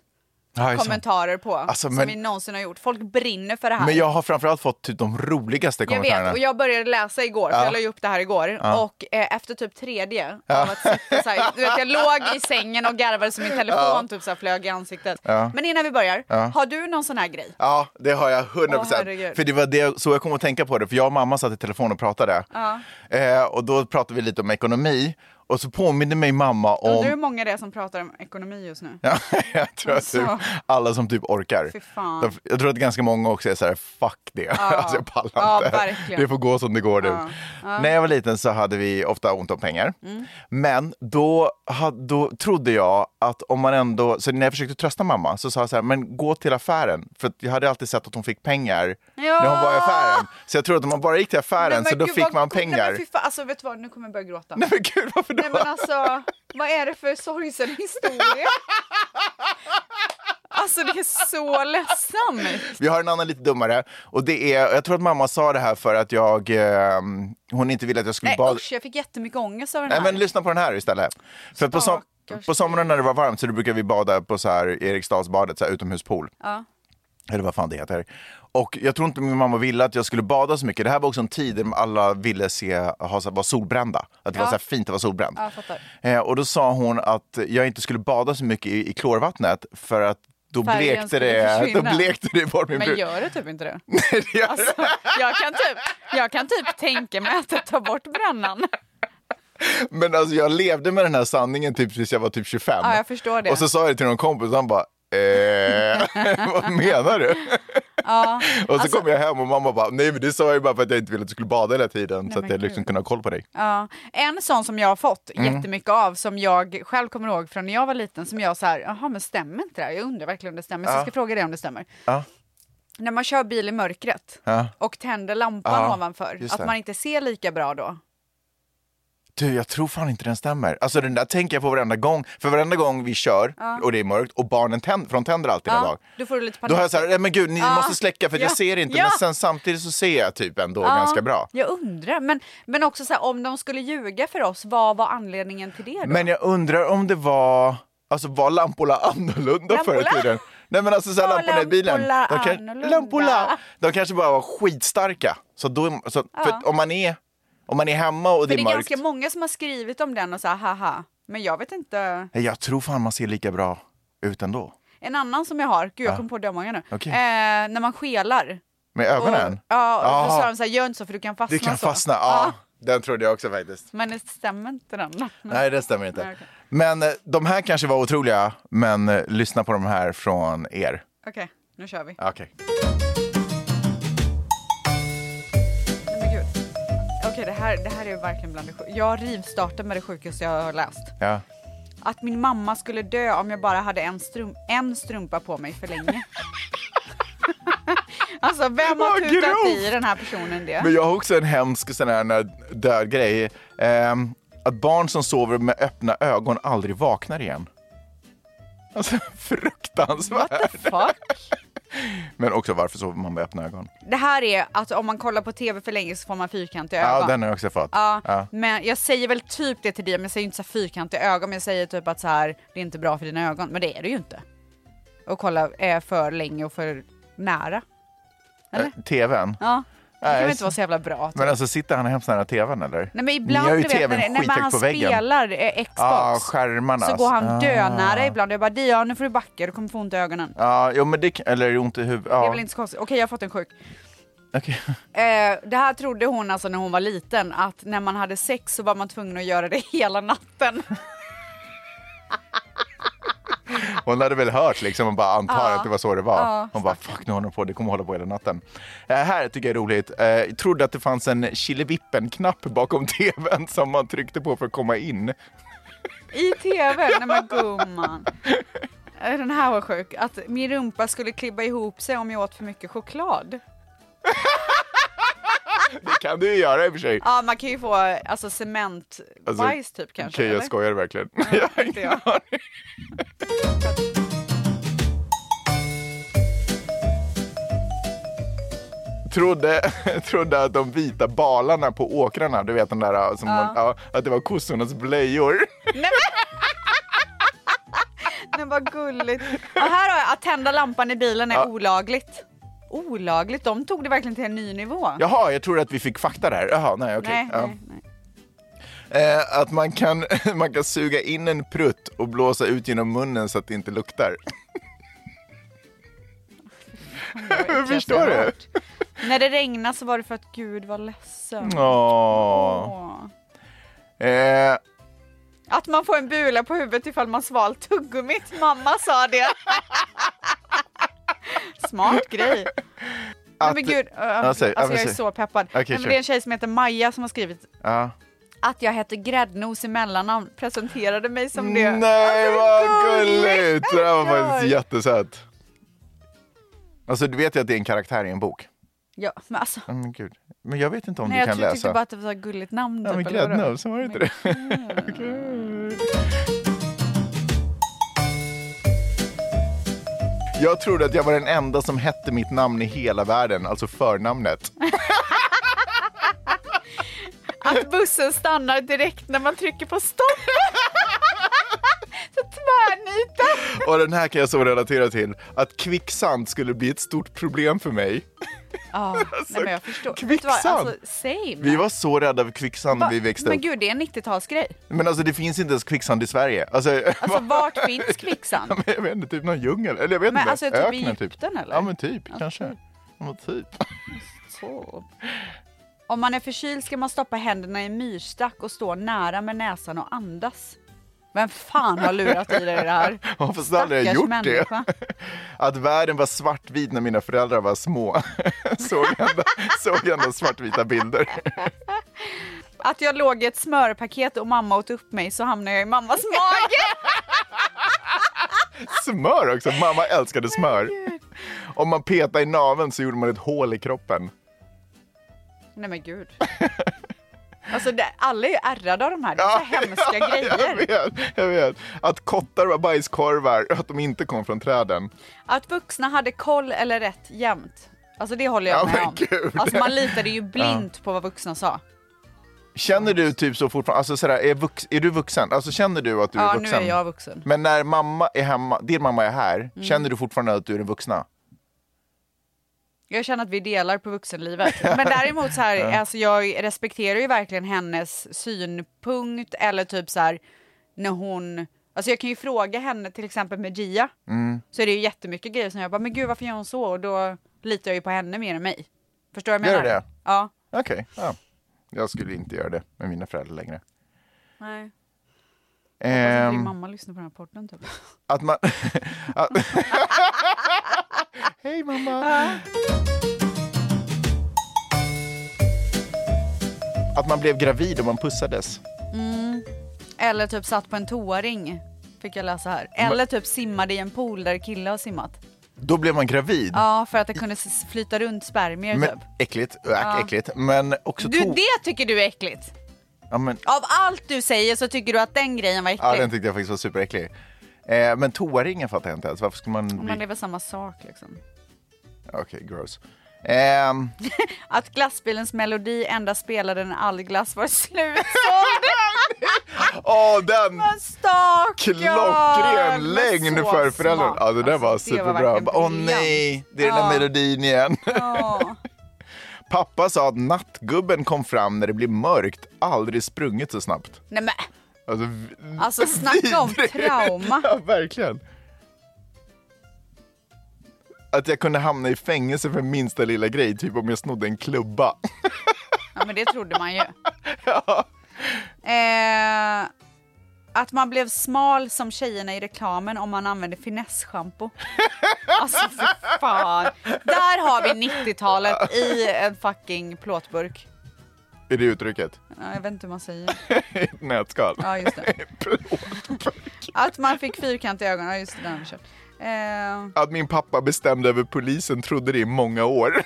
Speaker 1: Ja, det är sant.
Speaker 2: kommentarer på
Speaker 1: Alltså,
Speaker 2: som
Speaker 1: men-
Speaker 2: vi någonsin har gjort. Folk brinner för det här.
Speaker 1: Men jag har framförallt fått typ de roligaste
Speaker 2: Jag
Speaker 1: kommentarerna.
Speaker 2: vet, och jag började läsa igår, för
Speaker 1: Ja.
Speaker 2: jag la ju upp det här igår. Och eh, efter typ tredje, av att sitta så här, du vet, jag låg i sängen och garvade som min telefon typ så här, flög i ansiktet. Men innan vi börjar, har du någon sån här grej?
Speaker 1: Ja, det har jag 100
Speaker 2: Åh,
Speaker 1: procent.
Speaker 2: herregud.
Speaker 1: för det var det, så jag kom att tänka på det, för jag och mamma satt i telefon och pratade. Eh, och då pratade vi lite om ekonomi. Och så påminde mig mamma
Speaker 2: Undrar
Speaker 1: om...
Speaker 2: hur många det är som pratar om ekonomi just nu?
Speaker 1: Ja, jag tror att typ
Speaker 2: Alltså.
Speaker 1: alla som typ orkar.
Speaker 2: Fy fan.
Speaker 1: De- Jag tror att ganska många också är så här, fuck det. Alltså, jag pallar
Speaker 2: Ja,
Speaker 1: inte.
Speaker 2: verkligen.
Speaker 1: Det får gå som det går nu. När jag var liten så hade vi ofta ont om pengar.
Speaker 2: Mm.
Speaker 1: Men då, hade, då trodde jag att om man ändå, så när jag försökte trösta mamma så sa jag så här, men gå till affären. För att jag hade alltid sett att hon fick pengar när hon var i affären. Så jag tror att om man bara gick till affären
Speaker 2: men
Speaker 1: så då
Speaker 2: gud,
Speaker 1: fick
Speaker 2: vad-
Speaker 1: man
Speaker 2: Nej,
Speaker 1: pengar.
Speaker 2: men fy fan, alltså vet du vad, nu kommer jag börja gråta.
Speaker 1: Nej men gud, varför då?
Speaker 2: Nej men alltså, vad är det för sorgsen historia? Alltså det är så ledsamt.
Speaker 1: Vi har en annan lite dummare. Och det är, jag tror att mamma sa det här för att jag, eh, hon inte ville att jag skulle
Speaker 2: Nej
Speaker 1: bada.
Speaker 2: usch, jag fick jättemycket ångest av den här.
Speaker 1: Nej, men lyssna på den här istället. För på, som,
Speaker 2: Stackars
Speaker 1: på sommaren när det var varmt så då brukade vi bada på så här Eriksdalsbadet, så här utomhuspool. Eller vad fan det heter. Och jag tror inte min mamma ville att jag skulle bada så mycket. Det här var också en tid där alla ville se, ha, så här- vara solbrända. Att det var så här fint att vara solbränd.
Speaker 2: Ja, jag fattar.
Speaker 1: eh, och då sa hon att jag inte skulle bada så mycket i, i klorvattnet för att då
Speaker 2: Färgen
Speaker 1: blekte,
Speaker 2: skulle
Speaker 1: det, då
Speaker 2: försvinna.
Speaker 1: blekte det bort min
Speaker 2: Men
Speaker 1: brud.
Speaker 2: gör det typ inte det?
Speaker 1: Det gör det.
Speaker 2: Alltså, jag, kan typ, jag kan typ tänka mig att jag tar bort brännan.
Speaker 1: Men alltså jag levde med den här sanningen typ tills jag var typ 25.
Speaker 2: Ja, jag förstår det.
Speaker 1: Och så sa jag det till någon kompis och han bara Eh, vad menar du? och så
Speaker 2: alltså-
Speaker 1: kom jag hem och mamma bara, nej men det sa jag ju bara för att jag inte ville att du skulle bada hela tiden så
Speaker 2: men
Speaker 1: att jag liksom kunde ha koll på dig.
Speaker 2: Ja. En sån som jag har fått
Speaker 1: Mm.
Speaker 2: jättemycket av, som jag själv kommer ihåg från när jag var liten, som jag så här, jaha men stämmer inte det här? Jag undrar verkligen om det stämmer, så jag ska fråga dig om det stämmer.
Speaker 1: Ja.
Speaker 2: När man kör bil i mörkret
Speaker 1: Ja.
Speaker 2: och tänder lampan
Speaker 1: Ja,
Speaker 2: ovanför,
Speaker 1: just
Speaker 2: att
Speaker 1: det.
Speaker 2: man inte ser lika bra då.
Speaker 1: Du, jag tror fan inte den stämmer. Alltså den där tänker jag på varenda gång, för varenda gång vi kör och det är mörkt och barnen tänder, för de tänder alltid en dag.
Speaker 2: Då får du lite panik.
Speaker 1: Då har jag så här, nej men gud ni
Speaker 2: Ja.
Speaker 1: måste släcka för att
Speaker 2: Ja.
Speaker 1: jag ser inte,
Speaker 2: Ja.
Speaker 1: men sen samtidigt så ser jag typ ändå ganska bra.
Speaker 2: Jag undrar, men, men också så här, om de skulle ljuga för oss, vad var anledningen till det då?
Speaker 1: Men jag undrar om det var, alltså var lamporna annorlunda
Speaker 2: Lamporna?
Speaker 1: förr i tiden? Nej men alltså såhär
Speaker 2: Var
Speaker 1: lamporna i bilen.
Speaker 2: lamporna
Speaker 1: De kan-
Speaker 2: annorlunda?
Speaker 1: lamporna, de kanske bara var skitstarka. Så då, så, för om man är, om man är hemma och det
Speaker 2: För
Speaker 1: är,
Speaker 2: det är
Speaker 1: mörkt.
Speaker 2: ganska många som har skrivit om den och så här, haha. Men jag vet inte.
Speaker 1: Nej, Jag tror fan man ser lika bra ut ändå.
Speaker 2: En annan som jag har, gud jag kom på det många nu,
Speaker 1: Okej.
Speaker 2: eh, när man skelar.
Speaker 1: Med ögonen?
Speaker 2: Och, ja, och då
Speaker 1: Ah,
Speaker 2: sa de så här, gör inte så för du kan fastna.
Speaker 1: du kan
Speaker 2: så.
Speaker 1: fastna, ja. Den trodde jag också faktiskt.
Speaker 2: Men det stämmer inte den.
Speaker 1: Nej, det stämmer inte.
Speaker 2: Nej, Mm. okej.
Speaker 1: Men eh, de här kanske var otroliga, men eh, lyssna på de här från er.
Speaker 2: Okej, nu kör vi.
Speaker 1: Okej.
Speaker 2: Nej, men gud. Okej, det här, det här är verkligen bland det sjukaste. Jag rivstartar med det sjukaste jag har läst.
Speaker 1: Ja.
Speaker 2: Att min mamma skulle dö om jag bara hade en, strum en strumpa på mig för länge. alltså vem har
Speaker 1: Vad
Speaker 2: tutat
Speaker 1: grovt!
Speaker 2: i den här personen det?
Speaker 1: Men jag har också en hemsk sån här när- död grej. Ehm, att barn som sover med öppna ögon aldrig vaknar igen. Alltså fruktansvärt.
Speaker 2: Fuck.
Speaker 1: Men också varför sover man med öppna ögon?
Speaker 2: Det här är att om man kollar på tv för länge så får man fyrkantiga ögon.
Speaker 1: Ja, den har jag också fått.
Speaker 2: Ja,
Speaker 1: Ja.
Speaker 2: men jag säger väl typ det till dig, men jag säger inte så här fyrkantiga ögon, men jag säger typ att så här, det är inte bra för dina ögon. Men det är det ju inte. Och kolla, är för länge och för nära. Eller?
Speaker 1: Eh, TVn.
Speaker 2: Ja, det kan
Speaker 1: Nej,
Speaker 2: väl inte vara så jävla bra. typ.
Speaker 1: Men alltså sitter han hemskt nära TVn eller?
Speaker 2: Nej men
Speaker 1: Ni har
Speaker 2: ibland,
Speaker 1: ju
Speaker 2: du vet,
Speaker 1: TVn
Speaker 2: när, när
Speaker 1: skithögt
Speaker 2: han
Speaker 1: på väggen.
Speaker 2: spelar eh, Xbox
Speaker 1: Ja, skärmarna.
Speaker 2: så går han
Speaker 1: Ah.
Speaker 2: dönära ibland. Jag bara, Dia nu får du backa, du kommer få ont i ögonen.
Speaker 1: Ja, jo, men det, kan- eller ont i huvudet.
Speaker 2: Det är
Speaker 1: Ja.
Speaker 2: väl inte så konstigt. Okej, jag har fått en sjuk.
Speaker 1: Okej.
Speaker 2: Eh, det här trodde hon alltså när hon var liten, att när man hade sex så var man tvungen att göra det hela natten.
Speaker 1: Hon hade väl hört liksom och bara antar
Speaker 2: Ja.
Speaker 1: att det var så det var.
Speaker 2: Ja,
Speaker 1: hon bara fuck nu håller hon på, det kommer hålla på hela natten. Eh, här tycker jag är roligt. Eh, jag trodde att det fanns en Killevippen-knapp bakom tvn som man tryckte på för att komma in.
Speaker 2: I tv? Nej men gumman. Eh, Den här var sjuk. Att min rumpa skulle klibba ihop sig om jag åt för mycket choklad.
Speaker 1: Det kan du ju göra i och för sig.
Speaker 2: Ja, man kan ju få alltså, cementbajs
Speaker 1: Alltså,
Speaker 2: typ kanske.
Speaker 1: Okej, jag
Speaker 2: eller?
Speaker 1: skojar verkligen. Jag har
Speaker 2: inte
Speaker 1: ingen
Speaker 2: jag.
Speaker 1: aning. Trodde, trodde att de vita balarna på åkrarna, du vet den där äh, som man, ja, att det var kossornas blöjor.
Speaker 2: Nej, men... Nej, vad gulligt. Och här har jag att tända lampan i bilen är olagligt. Olagligt? De tog det verkligen till en ny nivå.
Speaker 1: Jaha, jag trodde att vi fick fakta där. Jaha, nej okej.
Speaker 2: Nej,
Speaker 1: ja.
Speaker 2: nej, nej.
Speaker 1: Eh, att man kan, man kan suga in en prutt och blåsa ut genom munnen så att det inte luktar.
Speaker 2: Jag
Speaker 1: Förstår
Speaker 2: har
Speaker 1: du?
Speaker 2: hört. När det regnade så var det för att Gud var ledsen.
Speaker 1: Åh.
Speaker 2: Åh.
Speaker 1: Eh,
Speaker 2: Att man får en bula på huvudet ifall man svalt tuggummit. Mamma sa det. Smart grej. Nej,
Speaker 1: Att-
Speaker 2: men gud, äh,
Speaker 1: Ja, säg. Ja,
Speaker 2: alltså
Speaker 1: men
Speaker 2: jag är
Speaker 1: säg.
Speaker 2: så peppad.
Speaker 1: Okej,
Speaker 2: Nej, men
Speaker 1: kör.
Speaker 2: det är en tjej som heter Maja som har skrivit
Speaker 1: ja.
Speaker 2: att jag hette Gräddnos i mellannamn, presenterade mig som det. Alltså,
Speaker 1: Nej, vad gulligt! Det där var
Speaker 2: Eller hur?
Speaker 1: faktiskt jättesött. Alltså, du vet ju att det är en karaktär i en bok.
Speaker 2: Ja, men alltså,
Speaker 1: Ja, Men, gud. men jag vet inte om
Speaker 2: nej,
Speaker 1: du
Speaker 2: jag
Speaker 1: kan
Speaker 2: tyckte
Speaker 1: läsa.
Speaker 2: bara att det var ett gulligt namn. typ,
Speaker 1: Ja, men
Speaker 2: eller vadå?
Speaker 1: gräddnos, var det inte det? Okej. Jag trodde att jag var den enda som hette mitt namn i hela världen, alltså förnamnet.
Speaker 2: Att bussen stannar direkt när man trycker på stopp. så tvärnitar.
Speaker 1: Och den här kan jag så relatera till, att kvicksand skulle bli ett stort problem för mig.
Speaker 2: Ja, nej, men jag förstår. Vet du vad,
Speaker 1: kvicksand.
Speaker 2: Alltså, same.
Speaker 1: Vi var så rädda för kvicksand när
Speaker 2: Va?
Speaker 1: vi växte
Speaker 2: Men
Speaker 1: upp.
Speaker 2: gud, det är en 90-talsgrej.
Speaker 1: Men alltså det finns inte ens kvicksand i Sverige. Alltså,
Speaker 2: Alltså vart finns kvicksand?
Speaker 1: Men jag vet inte, typ någon djungel. Eller jag vet
Speaker 2: Men
Speaker 1: inte.
Speaker 2: alltså, typ i
Speaker 1: Öknen,
Speaker 2: Egypten, eller?
Speaker 1: Ja men typ, kanske. Ja, men typ.
Speaker 2: Så. Om man är förkyld ska man stoppa händerna i en myrstack och stå nära med näsan och andas. Vem fan har lurat i dig det här?
Speaker 1: Ja, fast aldrig har
Speaker 2: Stackars
Speaker 1: gjort
Speaker 2: människa.
Speaker 1: det. Att världen var svartvit när mina föräldrar var små. såg ändå, såg ändå svartvita bilder.
Speaker 2: Att jag låg i ett smörpaket och mamma åt upp mig så hamnade jag i mammas mage.
Speaker 1: Smör också, mamma älskade smör. Om man petade i naveln så gjorde man ett hål i kroppen.
Speaker 2: Nej men gud. Alltså det, alla är ju ärrade av de här. Det är så hemska
Speaker 1: Jag
Speaker 2: grejer.
Speaker 1: vet, jag vet. Att kottar var bajskorvar och att de inte kom från träden.
Speaker 2: Att vuxna hade koll eller rätt jämt. Alltså det håller jag
Speaker 1: Ja,
Speaker 2: med
Speaker 1: men
Speaker 2: om.
Speaker 1: gud.
Speaker 2: Alltså man litade ju blint på vad vuxna sa.
Speaker 1: Känner du typ så fortfarande, alltså sådär, är, vux, är du vuxen? Alltså känner du att du
Speaker 2: Ja
Speaker 1: är
Speaker 2: nu
Speaker 1: vuxen?
Speaker 2: är jag Mm. vuxen.
Speaker 1: Men när mamma är hemma, din mamma är här, känner du fortfarande att du är den vuxna?
Speaker 2: Jag känner att vi delar på vuxenlivet. Men däremot så här, alltså jag respekterar ju verkligen hennes synpunkt eller typ så här när hon, alltså jag kan ju fråga henne till exempel med Gia,
Speaker 1: Mm.
Speaker 2: så är det ju jättemycket grejer som jag bara, men gud varför gör hon så? Och då litar jag ju på henne mer än mig. Förstår du vad jag
Speaker 1: Gör
Speaker 2: menar?
Speaker 1: du det?
Speaker 2: Ja.
Speaker 1: Okej, ja. jag skulle inte göra det med mina föräldrar längre.
Speaker 2: Nej. Alltså,
Speaker 1: Ehm,
Speaker 2: din mamma lyssnar på den här podden typ.
Speaker 1: att man... att... Hej mamma! Att man blev gravid och man pussades.
Speaker 2: Eller typ satt på en toaring, fick jag läsa här. Eller typ simmade i en pool där killar har simmat.
Speaker 1: Då blev man gravid.
Speaker 2: Ja, för att det kunde s- flyta runt spermier
Speaker 1: Men, äh,
Speaker 2: typ.
Speaker 1: äckligt, äck, äckligt. Men också
Speaker 2: Du,
Speaker 1: to-
Speaker 2: det tycker du är äckligt?
Speaker 1: Ja, men,
Speaker 2: Av allt du säger så tycker du att den grejen var äcklig.
Speaker 1: ja, den tyckte jag faktiskt var superäcklig. Eh, men toaringen fattar jag inte ens. Varför skulle man... Bli...
Speaker 2: Men det är väl samma sak liksom.
Speaker 1: Okej, gross. Ehm,
Speaker 2: Att glassbilens melodi endast spelade när all glass var slutsåld.
Speaker 1: Åh, den!
Speaker 2: Vad Stackarn!
Speaker 1: Klockren
Speaker 2: Men
Speaker 1: lögn
Speaker 2: så
Speaker 1: för föräldrarna.
Speaker 2: smart.
Speaker 1: Ja, det där var
Speaker 2: Alltså, det var
Speaker 1: superbra.
Speaker 2: verkligen
Speaker 1: Bara, Åh
Speaker 2: briljant.
Speaker 1: nej, det är den
Speaker 2: Ja.
Speaker 1: där melodin igen.
Speaker 2: Ja.
Speaker 1: Pappa sa att nattgubben kom fram när det blev mörkt, aldrig sprungit så snabbt.
Speaker 2: Nej men,
Speaker 1: Alltså, v-
Speaker 2: alltså snacka om
Speaker 1: vidrigt.
Speaker 2: trauma.
Speaker 1: Ja, verkligen. Att jag kunde hamna i fängelse för minsta lilla grej, typ om jag snodde en klubba.
Speaker 2: Ja men det trodde man ju. Eh, att man blev smal som tjejerna i reklamen om man använde finessschampo. Alltså för fan. Där har vi 90-talet i en fucking plåtburk.
Speaker 1: Är det uttrycket?
Speaker 2: Ja, jag vet inte hur man säger.
Speaker 1: I ett nätskal.
Speaker 2: Ja, just det. Att man fick fyrkant i ögonen. Ja, just det. Den har vi kört. Eh,
Speaker 1: Att min pappa bestämde över polisen trodde det i många år.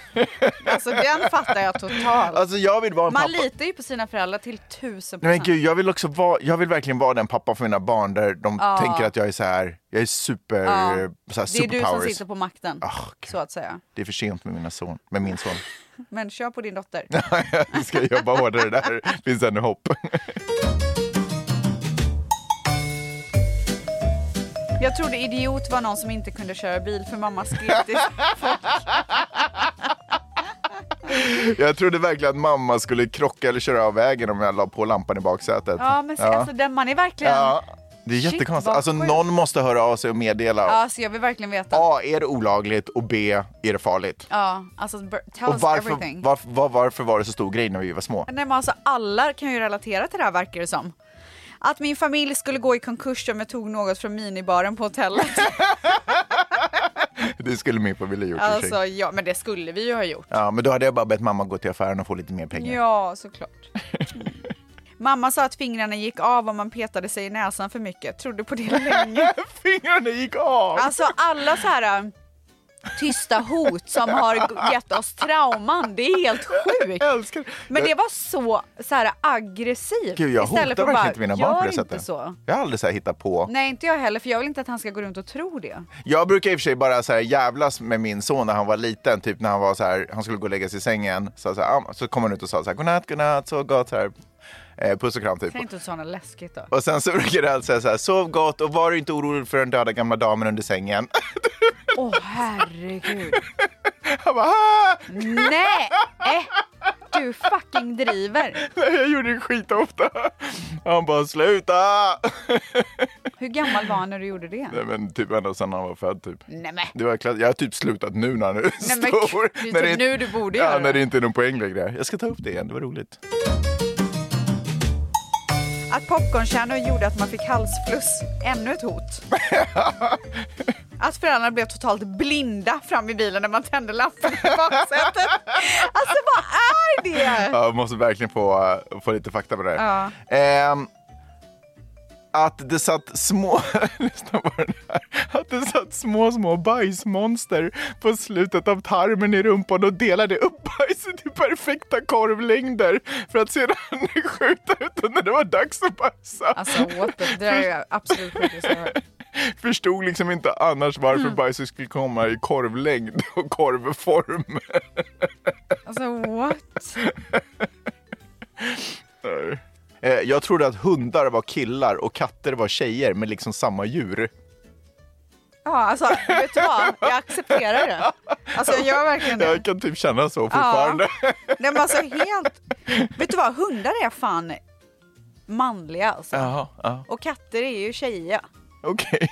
Speaker 2: alltså den fattar jag totalt.
Speaker 1: Alltså jag vill vara en
Speaker 2: Man
Speaker 1: pappa.
Speaker 2: litar ju på sina föräldrar till tusen
Speaker 1: Nej, men
Speaker 2: procent.
Speaker 1: gud, jag vill också vara, jag vill verkligen vara den pappa för mina barn där de
Speaker 2: Ja.
Speaker 1: tänker att jag är så här, jag är super,
Speaker 2: Ja.
Speaker 1: så här,
Speaker 2: Det är du som
Speaker 1: superpowers.
Speaker 2: sitter på makten,
Speaker 1: Ah, gud.
Speaker 2: så att säga.
Speaker 1: Det är för sent med, mina son, med min son.
Speaker 2: Men kör på din dotter.
Speaker 1: Vi ska jobba hårdare där, finns ännu hopp.
Speaker 2: Jag trodde idiot var någon som inte kunde köra bil för mamma skrek till
Speaker 1: Jag trodde verkligen att mamma skulle krocka eller köra av vägen om jag la på lampan i baksätet.
Speaker 2: Ja men se, alltså den man är verkligen...
Speaker 1: Ja.
Speaker 2: Ja.
Speaker 1: Det är
Speaker 2: Shit,
Speaker 1: jättekonstigt.
Speaker 2: vad
Speaker 1: Alltså
Speaker 2: sjukt.
Speaker 1: någon måste höra av sig och meddela.
Speaker 2: Alltså jag vill verkligen veta. Ja.
Speaker 1: A. Är det olagligt? Och B. Är det farligt?
Speaker 2: alltså br- tell
Speaker 1: Och
Speaker 2: us
Speaker 1: varför,
Speaker 2: everything.
Speaker 1: varför, var, varför var det så stor grej när vi var små?
Speaker 2: Nej men alltså alla kan ju relatera till det här verkar det som. Att min familj skulle gå i konkurs om jag tog något från minibaren på hotellet.
Speaker 1: Det skulle min familj gjort i och för sig.
Speaker 2: alltså ja, men det skulle vi ju ha gjort.
Speaker 1: Ja, men då hade jag bara bett mamma gå till affären och få lite mer pengar.
Speaker 2: Ja, såklart. Mm. Mamma sa att fingrarna gick av om man petade sig i näsan för mycket. Trodde på det länge.
Speaker 1: Fingrarna gick av!
Speaker 2: Alltså alla så här äh, tysta hot som har gett oss trauman. Det är helt sjukt.
Speaker 1: Jag älskar det.
Speaker 2: Men det var så, så här aggressivt.
Speaker 1: Gud, jag hotar
Speaker 2: Istället för
Speaker 1: verkligen
Speaker 2: att bara,
Speaker 1: inte mina barn på
Speaker 2: "Gör
Speaker 1: det sättet.
Speaker 2: Inte så.
Speaker 1: Jag har aldrig så här hittat på.
Speaker 2: Nej, inte jag heller, för jag vill inte att han ska gå runt och tro det.
Speaker 1: Jag brukar i och för sig bara så här jävlas med min son när han var liten. Typ när han var så här, han skulle gå och lägga sig i sängen. Så, så, här, ah, så kom han ut och sa så här, godnatt, godnatt, sov gott. Så här. Eh, puss och kram typ.
Speaker 2: Säg inte sådana läskigt då.
Speaker 1: Och sen så brukar han säga så här, sov gott och var inte orolig för den döda gamla damen under sängen.
Speaker 2: Åh herregud.
Speaker 1: Han bara, ah!
Speaker 2: Nej! Äh, Du fucking driver.
Speaker 1: Nej, jag gjorde det skitofta. Han bara, sluta!
Speaker 2: Hur gammal var han när du gjorde det?
Speaker 1: Nej men typ ända sedan han var född typ.
Speaker 2: Nej men.
Speaker 1: Det var klass... Jag har typ slutat nu när han är
Speaker 2: Nej, men
Speaker 1: stor.
Speaker 2: gud, det är
Speaker 1: När
Speaker 2: typ
Speaker 1: inte-
Speaker 2: nu du borde
Speaker 1: ja,
Speaker 2: göra
Speaker 1: när
Speaker 2: det.
Speaker 1: det inte är någon poäng längre. Jag ska ta upp det igen, det var roligt.
Speaker 2: Att popcornkärnor gjorde att man fick halsfluss. Ännu ett hot. Att föräldrarna blev totalt blinda fram i bilen när man tände lampan i baksätet. Alltså vad är det?
Speaker 1: Ja, Jag måste verkligen få, eh, få lite fakta på det här. Ehm, att det satt små... Lyssna på den här. Att det satt små, små bajsmonster på slutet av tarmen i rumpan och delade upp bajset i perfekta korvlängder för att sedan skjuta ut det när det var dags att bajsa.
Speaker 2: Alltså what the, det där är ju absolut sjukaste jag har hört.
Speaker 1: Förstod liksom inte annars varför
Speaker 2: Mm.
Speaker 1: bajset skulle komma i korvlängd och korvform.
Speaker 2: Alltså what?
Speaker 1: Eh, Jag trodde att hundar var killar och katter var tjejer med liksom samma djur.
Speaker 2: Ja, alltså vet du vad? Jag accepterar det. Alltså jag gör verkligen det.
Speaker 1: Jag kan typ känna så fortfarande.
Speaker 2: Nej men alltså helt... Vet du vad, hundar är fan manliga alltså.
Speaker 1: Jaha, ja.
Speaker 2: Och katter är ju tjejiga.
Speaker 1: okej.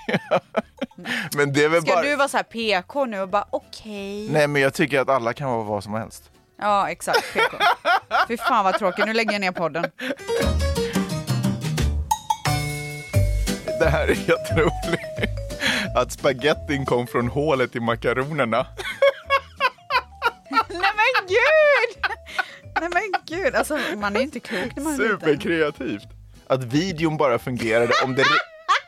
Speaker 1: men det är väl
Speaker 2: Ska
Speaker 1: bara...
Speaker 2: du vara så här PK nu och bara okej?
Speaker 1: Nej, men jag tycker att alla kan vara vad som helst.
Speaker 2: Ja exakt, PK. Fy fan vad tråkigt, nu lägger jag ner podden.
Speaker 1: Det här är jätteroligt. Att spagettin kom från hålet i makaronerna.
Speaker 2: Nej men gud! Nej men gud, alltså man är ju inte klok när man är liten.
Speaker 1: Superkreativt. Att videon bara fungerade om det...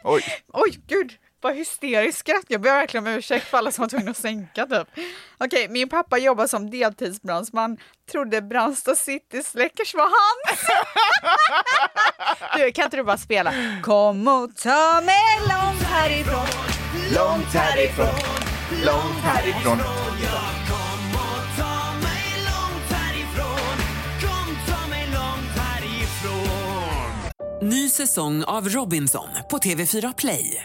Speaker 1: Oj.
Speaker 2: Oj gud, Vad hysteriskt skratt. Jag ber verkligen om ursäkt för alla som var tvungna att sänka typ. Okej, min pappa jobbar som deltidsbrandsman. Trodde Brandsta City Släckers var hans. du, kan inte du bara spela? Kom och ta mig långt härifrån.
Speaker 1: Långt härifrån, långt härifrån.
Speaker 3: Ny säsong av Robinson på TV4 Play.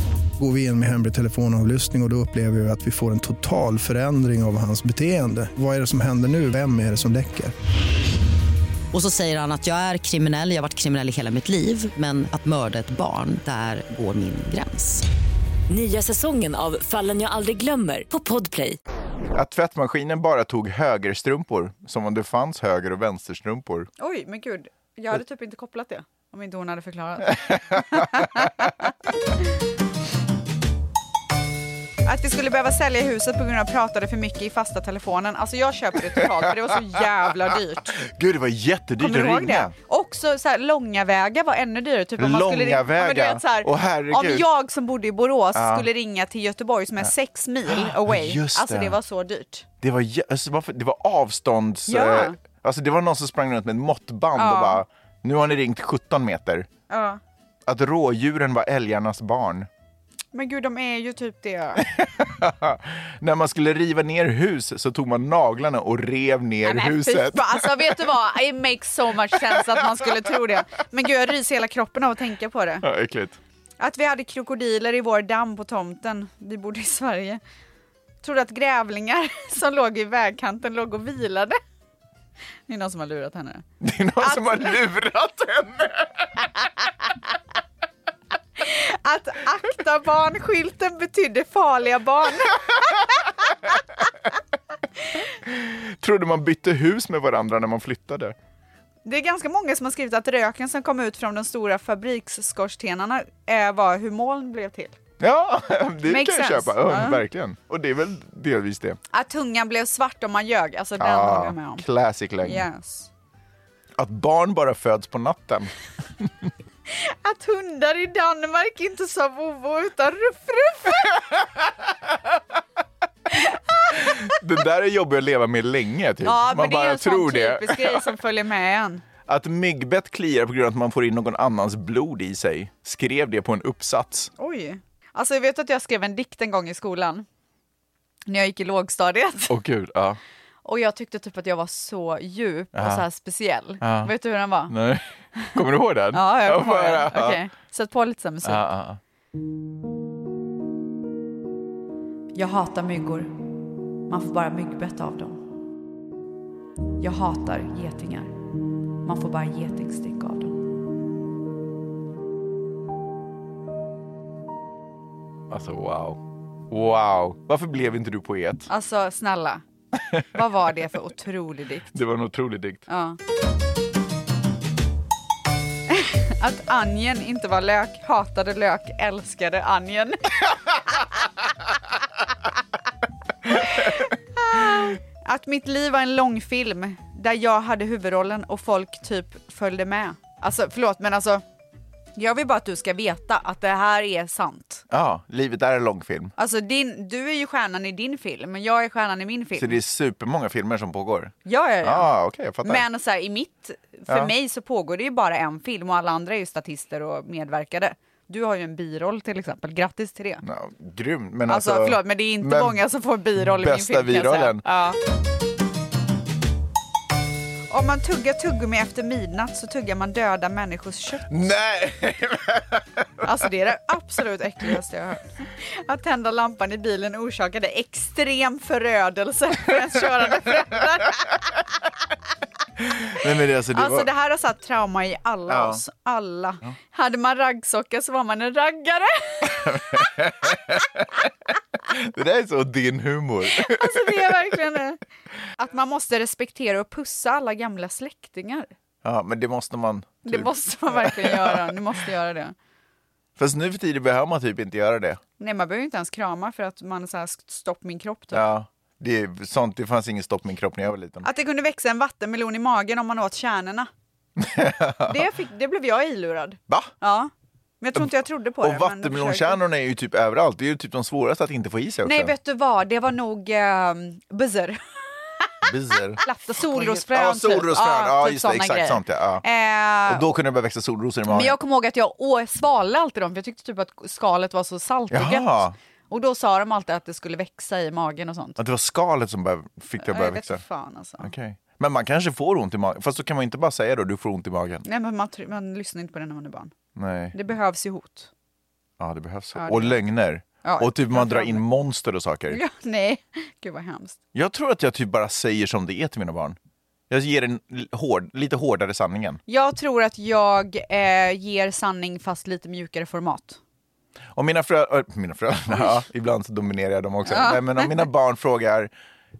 Speaker 8: Går vi in med hemlig telefonavlyssning och, och då upplever vi att vi får en total förändring av hans beteende. Vad är det som händer nu? Vem är det som läcker?
Speaker 6: Och så säger han att jag är kriminell, jag har varit kriminell i hela mitt liv men att mörda ett barn, där går min gräns.
Speaker 7: Nya säsongen av Fallen jag aldrig glömmer på Podplay.
Speaker 1: Att tvättmaskinen bara tog högerstrumpor, som om det fanns höger och vänsterstrumpor.
Speaker 2: Oj, men gud. Jag hade typ inte kopplat det. Om inte hon hade förklarat. Att vi skulle behöva sälja huset på grund av att jag pratade för mycket i fasta telefonen. Alltså jag köper det totalt för det var så jävla dyrt.
Speaker 1: Gud, det var jättedyrt
Speaker 2: Kommer du
Speaker 1: att
Speaker 2: ihåg
Speaker 1: ringa.
Speaker 2: det? Också så här, långa vägar var ännu dyrare. Typ om man skulle
Speaker 1: Långa
Speaker 2: ringa- Ja, men du
Speaker 1: vägar.
Speaker 2: vet, så här,
Speaker 1: Åh, herregud.
Speaker 2: Om jag som bodde i Borås
Speaker 1: Ja.
Speaker 2: skulle ringa till Göteborg som är sex mil away.
Speaker 1: just
Speaker 2: alltså
Speaker 1: det.
Speaker 2: det var så dyrt.
Speaker 1: Det var, jä- alltså, varför- det var avstånds...
Speaker 2: Ja.
Speaker 1: eh, Alltså det var någon som sprang runt med ett måttband
Speaker 2: Ja.
Speaker 1: och bara, nu har ni ringt 17 meter.
Speaker 2: Ja.
Speaker 1: Att rådjuren var älgarnas barn.
Speaker 2: Men gud, de är ju typ det.
Speaker 1: När man skulle riva ner hus så tog man naglarna och rev
Speaker 2: Nej,
Speaker 1: ner
Speaker 2: men
Speaker 1: huset.
Speaker 2: fy fan, Alltså vet du vad, it makes so much sense att man skulle tro det. Men gud, jag ryser hela kroppen av att tänka på det.
Speaker 1: Ja, äckligt.
Speaker 2: Att vi hade krokodiler i vår damm på tomten. Vi bodde i Sverige. Trodde att grävlingar som låg i vägkanten låg och vilade. Det är någon som har lurat henne.
Speaker 1: Det är någon som har lurat henne.
Speaker 2: Att akta barn-skylten betydde farliga barn.
Speaker 1: Trodde man bytte hus med varandra när man flyttade.
Speaker 2: Det är ganska många som har skrivit att röken som kom ut från de stora fabriksskorstenarna eh, var hur moln blev till.
Speaker 1: Ja, det
Speaker 2: Makes
Speaker 1: kan jag
Speaker 2: sense.
Speaker 1: köpa. Ja,
Speaker 2: Ja.
Speaker 1: Verkligen. Och det är väl delvis det.
Speaker 2: Att tungan blev svart om man ljög, alltså den
Speaker 1: Ah.
Speaker 2: håller jag med om.
Speaker 1: classic lögn.
Speaker 2: Yes.
Speaker 1: Att barn bara föds på natten.
Speaker 2: Att hundar i Danmark inte sa vovo utan ruff-ruff.
Speaker 1: Det där är jobbigt att leva med länge. Typ. man bara tror det.
Speaker 2: typisk grej som följer med en.
Speaker 1: Att myggbett kliar på grund av att man får in någon annans blod i sig. Skrev det på en uppsats.
Speaker 2: Oj. Alltså jag vet att jag skrev en dikt en gång i skolan. När jag gick i lågstadiet.
Speaker 1: Åh gud, ja.
Speaker 2: Och jag tyckte typ att jag var så djup och så här speciell.
Speaker 1: Ja. Mm.
Speaker 2: Vet du hur den var?
Speaker 1: Nej. Kommer du ihåg den?
Speaker 2: Ja, jag
Speaker 1: får
Speaker 2: kommer ihåg
Speaker 1: höra.
Speaker 2: den. Okej. Sätt på lite sån musik.
Speaker 1: Ja, ja, ja.
Speaker 2: Jag hatar myggor. Man får bara myggbett av dem. Jag hatar getingar. Man får bara getingstick av dem.
Speaker 1: Alltså wow. Wow. Varför blev inte du poet?
Speaker 2: Alltså snälla, vad var det för otrolig dikt?
Speaker 1: Det var en otrolig dikt.
Speaker 2: Ja. Att anjen inte var lök, hatade lök, älskade anjen. Att mitt liv var en långfilm där jag hade huvudrollen och folk typ följde med. Alltså förlåt men alltså, jag vill bara att du ska veta att det här är sant.
Speaker 1: Ja, livet är en långfilm.
Speaker 2: Alltså din, du är ju stjärnan i din film, men jag är stjärnan i min
Speaker 1: Så
Speaker 2: film.
Speaker 1: det är supermånga filmer som pågår?
Speaker 2: Ja, ja, ja.
Speaker 1: Ja, ah, okej, jag fattar.
Speaker 2: Men så här, i mitt, för
Speaker 1: Ja.
Speaker 2: mig så pågår det ju bara en film och alla andra är ju statister och medverkade. Du har ju en biroll till exempel, grattis till det.
Speaker 1: Ja, grymt. Men
Speaker 2: Alltså,
Speaker 1: alltså,
Speaker 2: förlåt men det är inte
Speaker 1: men
Speaker 2: många som får biroll i min
Speaker 1: bästa
Speaker 2: film kan jag säga.
Speaker 1: birollen.
Speaker 2: Ja. Om man tuggar tuggummi efter midnatt så tuggar man döda människors kött.
Speaker 1: Nej!
Speaker 2: Alltså det är det absolut äckligaste jag har hört. Att tända lampan i bilen orsakade extrem förödelse för ens körande föräldrar.
Speaker 1: Nej, men det, alltså, det
Speaker 2: Alltså
Speaker 1: var...
Speaker 2: det här har satt trauma i alla
Speaker 1: Ja.
Speaker 2: oss. Alla. Hade man raggsocka så var man en raggare.
Speaker 1: det där är så din humor.
Speaker 2: Alltså det är verkligen det. Att man måste respektera och pussa alla gamla släktingar.
Speaker 1: Ja, men det måste man. typ.
Speaker 2: Det måste man verkligen göra. Du måste göra det.
Speaker 1: Fast nu för tiden behöver man typ inte göra det.
Speaker 2: Nej, man behöver ju inte ens krama för att man så här stopp min kropp. Typ.
Speaker 1: Ja, det, är sånt, det fanns ingen stopp i min kropp när jag var liten.
Speaker 2: Att det kunde växa en vattenmelon i magen om man åt kärnorna. det, fick, det blev jag ilurad.
Speaker 1: Va?
Speaker 2: Ja. Men jag tror inte jag trodde på det. men
Speaker 1: Och
Speaker 2: jag försökte.
Speaker 1: vattenmelonkärnorna är ju typ överallt. Det är ju typ de svåraste att inte få i sig också.
Speaker 2: Nej, vet du vad? Det var nog eh, buzzer.
Speaker 1: Biser.
Speaker 2: Platta solrosfrön.
Speaker 1: Ja,
Speaker 2: typ.
Speaker 1: solrosfrön. Ja,
Speaker 2: typ
Speaker 1: just det.
Speaker 2: såna
Speaker 1: Exakt
Speaker 2: grejer.
Speaker 1: sånt, ja.
Speaker 2: Eh,
Speaker 1: Och då kunde det börja växa solrosor i
Speaker 2: Men
Speaker 1: magen.
Speaker 2: jag kommer ihåg att jag å- svalde alltid dem för jag tyckte typ att skalet var så saltigt.
Speaker 1: Jaha.
Speaker 2: Och då sa de alltid att det skulle växa i magen och sånt.
Speaker 1: Att det var skalet som började, fick det
Speaker 2: Ja,
Speaker 1: att
Speaker 2: jag
Speaker 1: börja
Speaker 2: vet
Speaker 1: växa.
Speaker 2: inte fan alltså.
Speaker 1: Okej. Men man kanske får ont i magen. Fast då kan man inte bara säga då, du får ont i magen.
Speaker 2: Nej, men man, tr- man lyssnar inte på det när man är barn.
Speaker 1: Nej.
Speaker 2: Det behövs ju hot.
Speaker 1: Ja, det behövs.
Speaker 2: Ja, det
Speaker 1: och
Speaker 2: behövs.
Speaker 1: lögner.
Speaker 2: Ja,
Speaker 1: och typ man
Speaker 2: framför
Speaker 1: drar in
Speaker 2: allt.
Speaker 1: monster och saker.
Speaker 2: Ja, nej, gud vad hemskt.
Speaker 1: Jag tror att jag typ bara säger som det är till mina barn. Jag ger den l- hård, lite hårdare sanningen.
Speaker 2: Jag tror att jag eh, ger sanning fast lite mjukare format.
Speaker 1: Om mina frö... äh, Mina frö... Ja, ibland så dominerar jag dem också. Nej, men om mina barn frågar...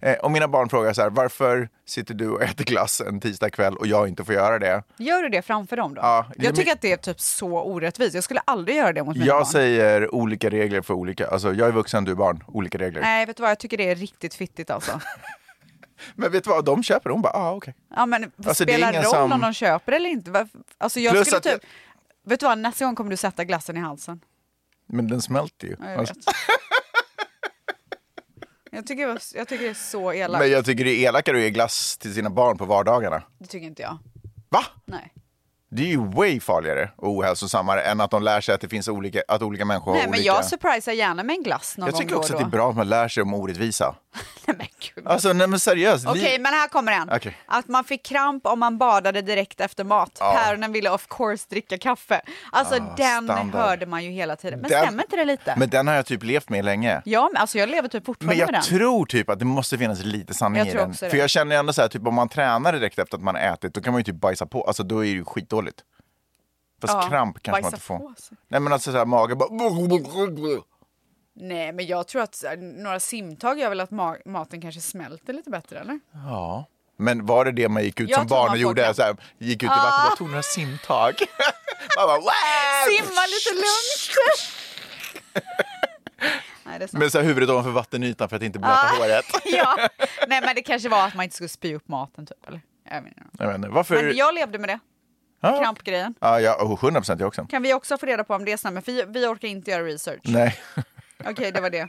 Speaker 1: Eh, om mina barn frågar så här, varför sitter du och äter glass en tisdag kväll och jag inte får göra det?
Speaker 2: Gör du det framför dem då?
Speaker 1: Ja, det är
Speaker 2: jag tycker
Speaker 1: mi-
Speaker 2: att det är typ så orättvist. Jag skulle aldrig göra det mot mina barn.
Speaker 1: Jag säger olika regler för olika. Alltså, jag är vuxen, du är barn. Olika regler.
Speaker 2: Nej, vet du vad? Jag tycker det är riktigt fittigt alltså.
Speaker 1: Men vet du vad, de köper. Hon bara, ah, okej.
Speaker 2: Ja, men
Speaker 1: Alltså, det är
Speaker 2: spelar
Speaker 1: ingen
Speaker 2: roll
Speaker 1: som-
Speaker 2: om de köper eller inte? Varför- Alltså, jag
Speaker 1: Plus
Speaker 2: skulle
Speaker 1: att jag-
Speaker 2: typ... Vet du vad, nästa gång kommer du sätta glassen i halsen.
Speaker 1: Men den smälter ju.
Speaker 2: Ja, jag,
Speaker 1: Alltså,
Speaker 2: vet. jag, tycker, det var- jag tycker det är så elakt.
Speaker 1: men jag tycker det är elakare att ge glass till sina barn på vardagarna.
Speaker 2: Det tycker inte jag.
Speaker 1: Va?
Speaker 2: Nej.
Speaker 1: Det är ju way farligare och ohälsosammare än att de lär sig att det finns olika, att olika människor
Speaker 2: Nej,
Speaker 1: har
Speaker 2: men
Speaker 1: olika...
Speaker 2: jag surprisar gärna med en glass någon
Speaker 1: jag
Speaker 2: gång
Speaker 1: tycker
Speaker 2: då
Speaker 1: också
Speaker 2: och
Speaker 1: att
Speaker 2: då.
Speaker 1: det är bra att man lär sig om orättvisa.
Speaker 2: Nej, men gud.
Speaker 1: Alltså nej men seriöst. li-
Speaker 2: Okej, men här kommer en.
Speaker 1: Okej.
Speaker 2: Att man fick kramp om man badade direkt efter mat.
Speaker 1: Ja. Ah,
Speaker 2: Päronen ville of course dricka kaffe. Alltså den
Speaker 1: standard.
Speaker 2: hörde man ju hela tiden. Men
Speaker 1: Den-
Speaker 2: stämmer inte det lite?
Speaker 1: Men den har jag typ levt med länge.
Speaker 2: Ja, men alltså jag lever typ fortfarande
Speaker 1: Men
Speaker 2: med
Speaker 1: jag
Speaker 2: den.
Speaker 1: tror typ att det måste finnas lite sanning
Speaker 2: Jag
Speaker 1: i
Speaker 2: tror
Speaker 1: den.
Speaker 2: också det.
Speaker 1: För jag känner ju ändå så här, typ om man tränar direkt efter att man har ätit, då kan man ju typ bajsa på. Alltså då är det ju skitdåligt. Fast
Speaker 2: Ja,
Speaker 1: kramp kanske man
Speaker 2: bajsa
Speaker 1: inte får.
Speaker 2: på sig.
Speaker 1: Nej men alltså så här, magen bara...
Speaker 2: Nej, men jag tror att så här, några simtag gör väl att ma- maten kanske smälter lite bättre, eller?
Speaker 1: Ja. Men var det det man gick ut
Speaker 2: Jag
Speaker 1: som
Speaker 2: tror man
Speaker 1: barn
Speaker 2: Ah.
Speaker 1: och
Speaker 2: får
Speaker 1: gjorde?
Speaker 2: kramp.
Speaker 1: Så här, gick ut i vattnet och bara tog några simtag. man bara, "Wow!"
Speaker 2: Simma lite lugnt! Nej, det är sant.
Speaker 1: Med så här huvudet ovanför vattenytan för att inte blöta
Speaker 2: Ah.
Speaker 1: håret.
Speaker 2: ja. Nej, men det kanske var att man inte skulle spy upp maten, typ, eller? Jag vet inte.
Speaker 1: Jag vet inte, varför?
Speaker 2: Men jag levde med det,
Speaker 1: Ja.
Speaker 2: krampgrejen.
Speaker 1: Ja, ja, oh, 100 procent jag också.
Speaker 2: Kan vi också få reda på om det stämmer? För vi orkar inte göra research.
Speaker 1: Nej.
Speaker 2: Okej, det var det.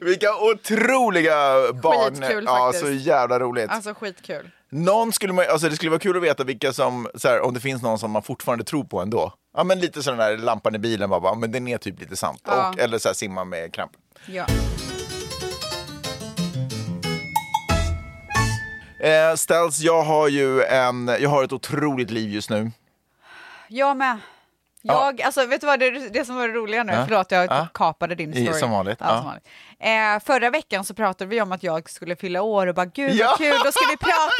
Speaker 1: Vilka otroliga barn.
Speaker 2: Skitkul
Speaker 1: ja,
Speaker 2: faktiskt.
Speaker 1: så jävla roligt.
Speaker 2: Alltså skitkul.
Speaker 1: Någon skulle man, alltså det skulle vara kul att veta vilka som, så här, om det finns någon som man fortfarande tror på ändå. Ja men lite sån där lampan i bilen bara, bara men den är typ lite sant.
Speaker 2: Ja.
Speaker 1: Och, eller så här, simma med kramp.
Speaker 2: Ja.
Speaker 1: Eh, Ställs, jag har ju en, jag har ett otroligt liv just nu.
Speaker 2: Jag med. Jag, alltså, vet du vad det, det som var det roliga nu? Förlåt, jag
Speaker 1: Ja.
Speaker 2: kapade din
Speaker 1: I-
Speaker 2: story.
Speaker 1: som vanligt,
Speaker 2: Ja,
Speaker 1: ja.
Speaker 2: som vanligt. Eh, förra veckan så pratade vi om att jag skulle fylla år och bara gud
Speaker 1: Ja.
Speaker 2: vad kul, då ska vi prata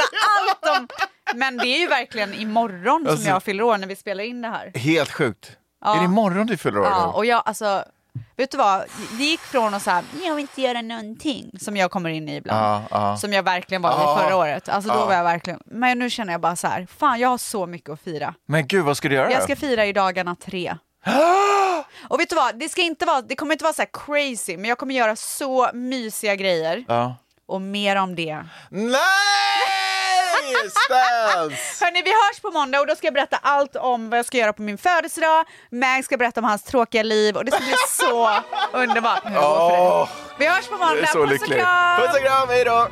Speaker 2: allt om... Men det är ju verkligen imorgon
Speaker 1: Alltså-
Speaker 2: som jag fyller år när vi spelar in det här.
Speaker 1: Helt sjukt. Är det imorgon du fyller år?
Speaker 2: Ja,
Speaker 1: då?
Speaker 2: och jag, alltså, vet du vad? Det gick från att så här, jag vill inte göra någonting, som jag kommer in i ibland,
Speaker 1: Ja, ja.
Speaker 2: som jag verkligen var
Speaker 1: Ja.
Speaker 2: i förra året. Alltså då
Speaker 1: Ja.
Speaker 2: var jag verkligen, men nu känner jag bara så här, fan jag har så mycket att fira.
Speaker 1: Men gud, vad ska du göra
Speaker 2: Jag
Speaker 1: då?
Speaker 2: ska fira i dagarna tre. Och vet du vad, det, ska inte vara, det kommer inte vara så här crazy, men jag kommer göra så mysiga grejer.
Speaker 1: Ja.
Speaker 2: Och mer om det.
Speaker 1: Nej! Ställs!
Speaker 2: Hörni, vi hörs på måndag och då ska jag berätta allt om vad jag ska göra på min födelsedag. Mag ska berätta om hans tråkiga liv och det ska bli så underbart. Hur det går för dig.
Speaker 1: Åh,
Speaker 2: Vi hörs på
Speaker 1: jag
Speaker 2: måndag.
Speaker 1: är så
Speaker 2: Puss och
Speaker 1: lycklig.
Speaker 2: kram!
Speaker 1: Puss och kram, hej då!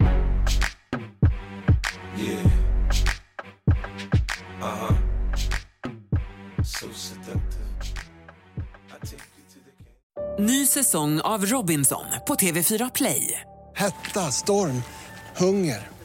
Speaker 3: Ny säsong av Robinson på TV4 Play.
Speaker 4: Hetta, storm, hunger.